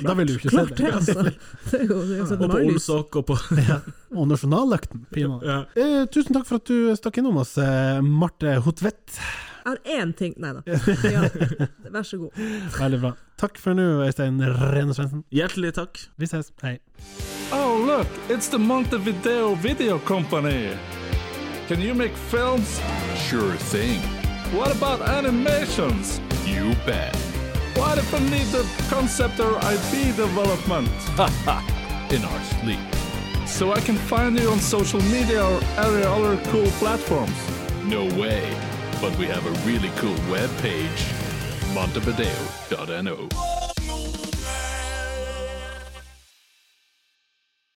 Da vil du ikke se Klart det, dem. altså! Det er jo, det er jo sånn Og på marlys. Olsok og på Og nasjonalløkten, pinadø. ja. Eh, tusen takk for at du stakk innom oss, eh, Marte Hotvedt. Jeg har én ting Nei da. Ja. Vær så god. Veldig bra. Takk for nå, Øystein Rene Svendsen. Hjertelig takk. Vi ses. Hei. Oh, look, it's the Montevideo Video Company. Can you make films? Sure thing. What about animations? You bet. What if I need the concept or IP development? In our sleep. So I can find you on social media or any other cool platforms. No way. But we have a really cool web page. Montevideo.no.